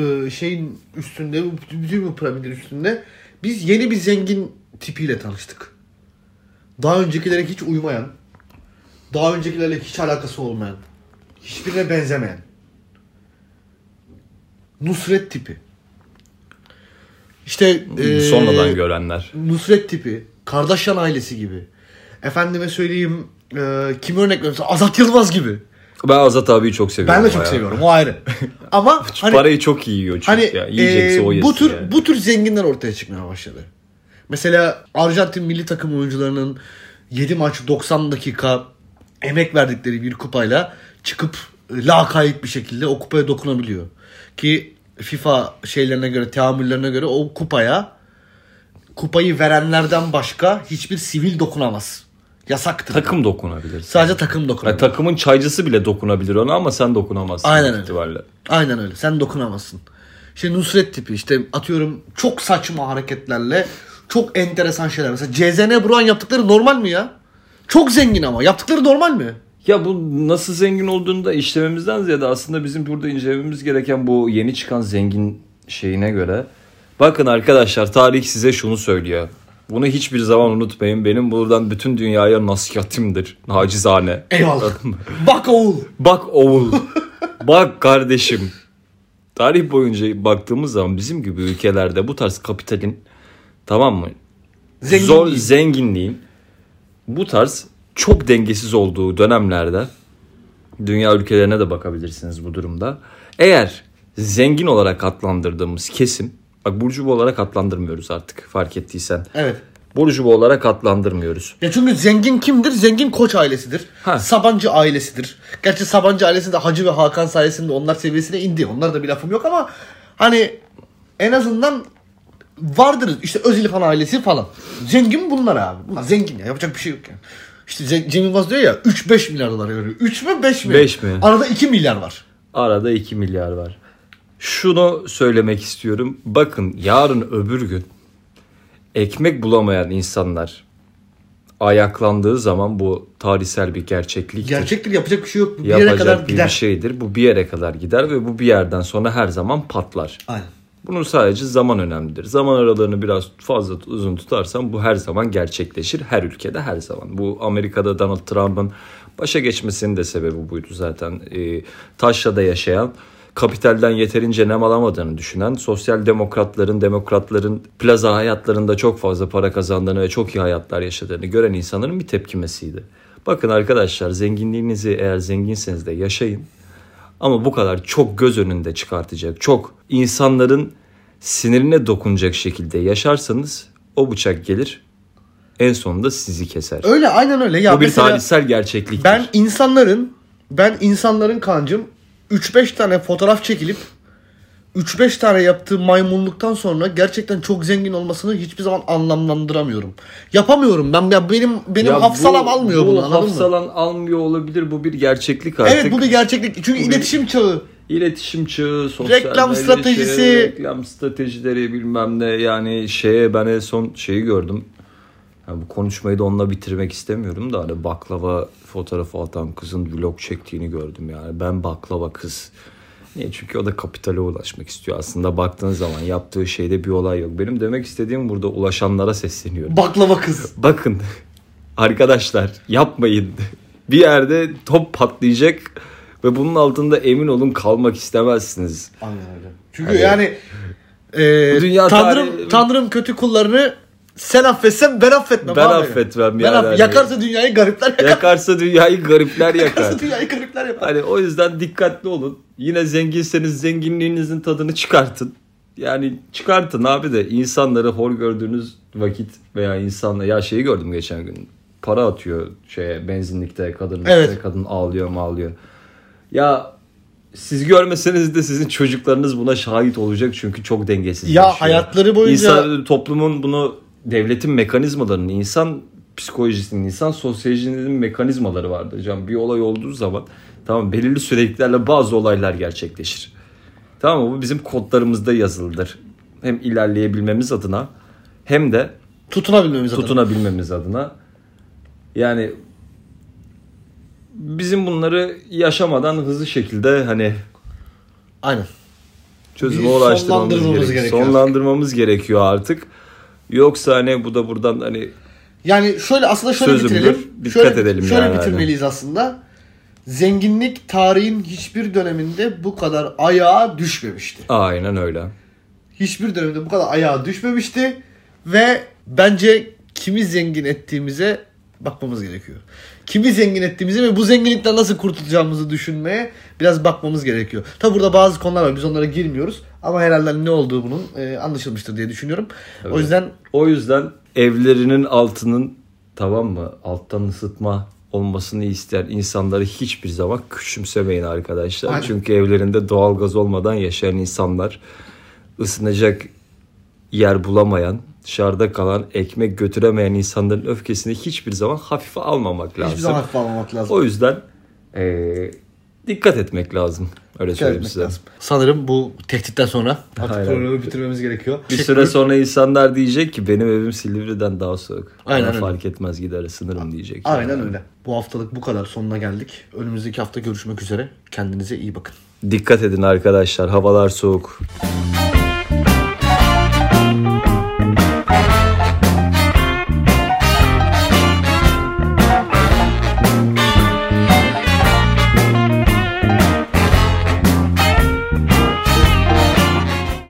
[SPEAKER 1] e, şeyin üstünde, bu- bütün bu piramidin üstünde biz yeni bir zengin tipiyle tanıştık. Daha öncekilere hiç uymayan, daha öncekilerle hiç alakası olmayan, hiçbirine benzemeyen. Nusret tipi. İşte e,
[SPEAKER 2] Sonradan görenler.
[SPEAKER 1] Nusret tipi, Kardashian ailesi gibi. Efendime söyleyeyim, e, kim örnek veriyorum? Azat Yılmaz gibi.
[SPEAKER 2] Ben Azat abiyi çok seviyorum.
[SPEAKER 1] Ben de çok
[SPEAKER 2] bayağı.
[SPEAKER 1] seviyorum. O ayrı. Ama hani,
[SPEAKER 2] Parayı çok iyi yiyor çünkü
[SPEAKER 1] hani
[SPEAKER 2] ya.
[SPEAKER 1] e,
[SPEAKER 2] Yiyecekse o yesin
[SPEAKER 1] bu tür
[SPEAKER 2] yani.
[SPEAKER 1] bu tür zenginler ortaya çıkmaya başladı. Mesela Arjantin milli takım oyuncularının 7 maç 90 dakika emek verdikleri bir kupayla çıkıp e, lakayt bir şekilde o kupaya dokunabiliyor. Ki FIFA şeylerine göre, teamüllerine göre o kupaya kupayı verenlerden başka hiçbir sivil dokunamaz. Yasaktır.
[SPEAKER 2] Takım dokunabilir.
[SPEAKER 1] Sadece takım
[SPEAKER 2] Yani
[SPEAKER 1] dokunabilir.
[SPEAKER 2] takımın çaycısı bile dokunabilir ona ama sen dokunamazsın.
[SPEAKER 1] Aynen
[SPEAKER 2] büyük
[SPEAKER 1] öyle.
[SPEAKER 2] ihtimalle.
[SPEAKER 1] Aynen öyle. Sen dokunamazsın. İşte Nusret tipi işte atıyorum çok saçma hareketlerle çok enteresan şeyler. Mesela CZN Buran yaptıkları normal mi ya? Çok zengin ama. Yaptıkları normal mi?
[SPEAKER 2] Ya bu nasıl zengin olduğunu da işlememizden ziyade aslında bizim burada incelememiz gereken bu yeni çıkan zengin şeyine göre. Bakın arkadaşlar tarih size şunu söylüyor. Bunu hiçbir zaman unutmayın. Benim buradan bütün dünyaya nasihatimdir. Nacizane.
[SPEAKER 1] Eyvallah. Bak oğul.
[SPEAKER 2] Bak oğul. bak kardeşim. Tarih boyunca baktığımız zaman bizim gibi ülkelerde bu tarz kapitalin tamam mı?
[SPEAKER 1] Zengin
[SPEAKER 2] Zor
[SPEAKER 1] değil.
[SPEAKER 2] zenginliğin bu tarz çok dengesiz olduğu dönemlerde dünya ülkelerine de bakabilirsiniz bu durumda. Eğer zengin olarak adlandırdığımız kesim Bak burcuva olarak adlandırmıyoruz artık fark ettiysen.
[SPEAKER 1] Evet.
[SPEAKER 2] Burcuva olarak adlandırmıyoruz.
[SPEAKER 1] Ya çünkü zengin kimdir? Zengin Koç ailesidir.
[SPEAKER 2] Ha.
[SPEAKER 1] Sabancı ailesidir. Gerçi Sabancı ailesi de Hacı ve Hakan sayesinde onlar seviyesine indi. Onlar da bir lafım yok ama hani en azından vardır. İşte Özilhan ailesi falan. Zengin bunlar abi. Bunlar zengin ya. Yapacak bir şey yok yani. İşte Cem Cem Yılmaz diyor ya 3-5 milyar dolar veriyor. 3 mü 5 mi?
[SPEAKER 2] Beş mi?
[SPEAKER 1] Arada 2 milyar var.
[SPEAKER 2] Arada 2 milyar var. Şunu söylemek istiyorum. Bakın yarın öbür gün ekmek bulamayan insanlar ayaklandığı zaman bu tarihsel bir gerçeklik.
[SPEAKER 1] Gerçektir yapacak bir şey yok. Bir yere
[SPEAKER 2] Yapacak
[SPEAKER 1] kadar
[SPEAKER 2] bir şey.
[SPEAKER 1] gider.
[SPEAKER 2] şeydir. Bu bir yere kadar gider ve bu bir yerden sonra her zaman patlar.
[SPEAKER 1] Aynen.
[SPEAKER 2] Bunun sadece zaman önemlidir. Zaman aralarını biraz fazla uzun tutarsan bu her zaman gerçekleşir. Her ülkede her zaman. Bu Amerika'da Donald Trump'ın başa geçmesinin de sebebi buydu zaten. Ee, taşrada yaşayan, kapitalden yeterince nem alamadığını düşünen, sosyal demokratların, demokratların plaza hayatlarında çok fazla para kazandığını ve çok iyi hayatlar yaşadığını gören insanların bir tepkimesiydi. Bakın arkadaşlar zenginliğinizi eğer zenginseniz de yaşayın. Ama bu kadar çok göz önünde çıkartacak, çok insanların sinirine dokunacak şekilde yaşarsanız o bıçak gelir en sonunda sizi keser.
[SPEAKER 1] Öyle aynen öyle. Ya
[SPEAKER 2] Bu bir
[SPEAKER 1] mesela-
[SPEAKER 2] tarihsel gerçekliktir.
[SPEAKER 1] Ben insanların ben insanların kancım 3-5 tane fotoğraf çekilip 3-5 tane yaptığı maymunluktan sonra gerçekten çok zengin olmasını hiçbir zaman anlamlandıramıyorum. Yapamıyorum ben ya benim benim
[SPEAKER 2] Ya
[SPEAKER 1] hafsalam almıyor bunu anladın mı?
[SPEAKER 2] hafsalan almıyor olabilir bu bir gerçeklik artık.
[SPEAKER 1] Evet bu bir gerçeklik. Çünkü
[SPEAKER 2] bir-
[SPEAKER 1] iletişim çağı.
[SPEAKER 2] İletişim çağı, sosyal
[SPEAKER 1] Reklam
[SPEAKER 2] medya
[SPEAKER 1] stratejisi.
[SPEAKER 2] çağı, reklam stratejileri bilmem ne yani şeye ben en son şeyi gördüm. Yani bu konuşmayı da onunla bitirmek istemiyorum da hani baklava fotoğrafı atan kızın vlog çektiğini gördüm yani. Ben baklava kız. Niye? Çünkü o da kapitale ulaşmak istiyor. Aslında baktığın zaman yaptığı şeyde bir olay yok. Benim demek istediğim burada ulaşanlara sesleniyorum.
[SPEAKER 1] Baklava kız.
[SPEAKER 2] Bakın arkadaşlar yapmayın. Bir yerde top patlayacak ve bunun altında emin olun kalmak istemezsiniz.
[SPEAKER 1] Aynen öyle. Çünkü yani e,
[SPEAKER 2] Bu dünya
[SPEAKER 1] tanrım
[SPEAKER 2] tarihi-
[SPEAKER 1] tanrım kötü kullarını sen affetsen ben affetmem.
[SPEAKER 2] Ben
[SPEAKER 1] abi.
[SPEAKER 2] affetmem
[SPEAKER 1] Ben
[SPEAKER 2] yani
[SPEAKER 1] aff-
[SPEAKER 2] hani-
[SPEAKER 1] Yakarsa dünyayı garipler yakar.
[SPEAKER 2] Yakarsa dünyayı garipler yakar.
[SPEAKER 1] Yakarsa dünyayı garipler yapar.
[SPEAKER 2] Hani o yüzden dikkatli olun. Yine zenginseniz zenginliğinizin tadını çıkartın. Yani çıkartın abi de insanları hor gördüğünüz vakit veya insanla ya şeyi gördüm geçen gün. Para atıyor şeye benzinlikte kadın
[SPEAKER 1] Evet.
[SPEAKER 2] işte kadın ağlıyor mağlıyor. Ya siz görmeseniz de sizin çocuklarınız buna şahit olacak çünkü çok dengesiz.
[SPEAKER 1] Ya hayatları boyunca-
[SPEAKER 2] İnsan, toplumun bunu devletin mekanizmalarının insan psikolojisinin insan sosyolojisinin mekanizmaları vardır hocam. Bir olay olduğu zaman tamam belirli süreklilerle bazı olaylar gerçekleşir. Tamam mı? Bu bizim kodlarımızda yazılıdır. Hem ilerleyebilmemiz adına hem de
[SPEAKER 1] Tutunabilmemiz adına.
[SPEAKER 2] tutunabilmemiz adına. Yani bizim bunları yaşamadan hızlı şekilde hani
[SPEAKER 1] Aynen. Bir
[SPEAKER 2] çözüme ulaştırmamız
[SPEAKER 1] sonlandırmamız
[SPEAKER 2] gerekiyor.
[SPEAKER 1] gerekiyor.
[SPEAKER 2] Sonlandırmamız gerekiyor artık. Yoksa hani bu da buradan hani
[SPEAKER 1] Yani şöyle aslında şöyle
[SPEAKER 2] Sözümdür.
[SPEAKER 1] bitirelim.
[SPEAKER 2] Dikkat
[SPEAKER 1] şöyle,
[SPEAKER 2] edelim
[SPEAKER 1] Şöyle
[SPEAKER 2] yani.
[SPEAKER 1] bitirmeliyiz aslında. Zenginlik tarihin hiçbir döneminde bu kadar ayağa düşmemişti.
[SPEAKER 2] aynen öyle.
[SPEAKER 1] Hiçbir dönemde bu kadar ayağa düşmemişti ve bence kimi zengin ettiğimize bakmamız gerekiyor. Kimi zengin ettiğimize ve bu zenginlikten nasıl kurtulacağımızı düşünmeye biraz bakmamız gerekiyor. Tabi burada bazı konular var. Biz onlara girmiyoruz ama herhalde ne olduğu bunun e, anlaşılmıştır diye düşünüyorum. O yüzden
[SPEAKER 2] O yüzden evlerinin altının tamam mı alttan ısıtma olmasını isteyen insanları hiçbir zaman küçümsemeyin arkadaşlar.
[SPEAKER 1] Aynen.
[SPEAKER 2] Çünkü evlerinde doğalgaz olmadan yaşayan insanlar ısınacak yer bulamayan, dışarıda kalan, ekmek götüremeyen insanların öfkesini hiçbir zaman hafife almamak lazım.
[SPEAKER 1] hiçbir zaman hafife almamak lazım.
[SPEAKER 2] O yüzden eee, dikkat etmek lazım. Öyle söyleyeyim
[SPEAKER 1] Ee, etmek
[SPEAKER 2] size.
[SPEAKER 1] lazım. Sanırım bu tehditten sonra artık
[SPEAKER 2] Aynen.
[SPEAKER 1] programı bitirmemiz gerekiyor.
[SPEAKER 2] Bir
[SPEAKER 1] Teşekkür-
[SPEAKER 2] süre sonra insanlar diyecek ki benim evim Silivri'den daha soğuk.
[SPEAKER 1] Aynen
[SPEAKER 2] Ama
[SPEAKER 1] öyle.
[SPEAKER 2] fark etmez gider ısınırım diyecek.
[SPEAKER 1] Aynen
[SPEAKER 2] Yani.
[SPEAKER 1] öyle. Bu haftalık bu kadar sonuna geldik. Önümüzdeki hafta görüşmek üzere. Kendinize iyi bakın.
[SPEAKER 2] Dikkat edin arkadaşlar havalar soğuk.
[SPEAKER 3] Altyazı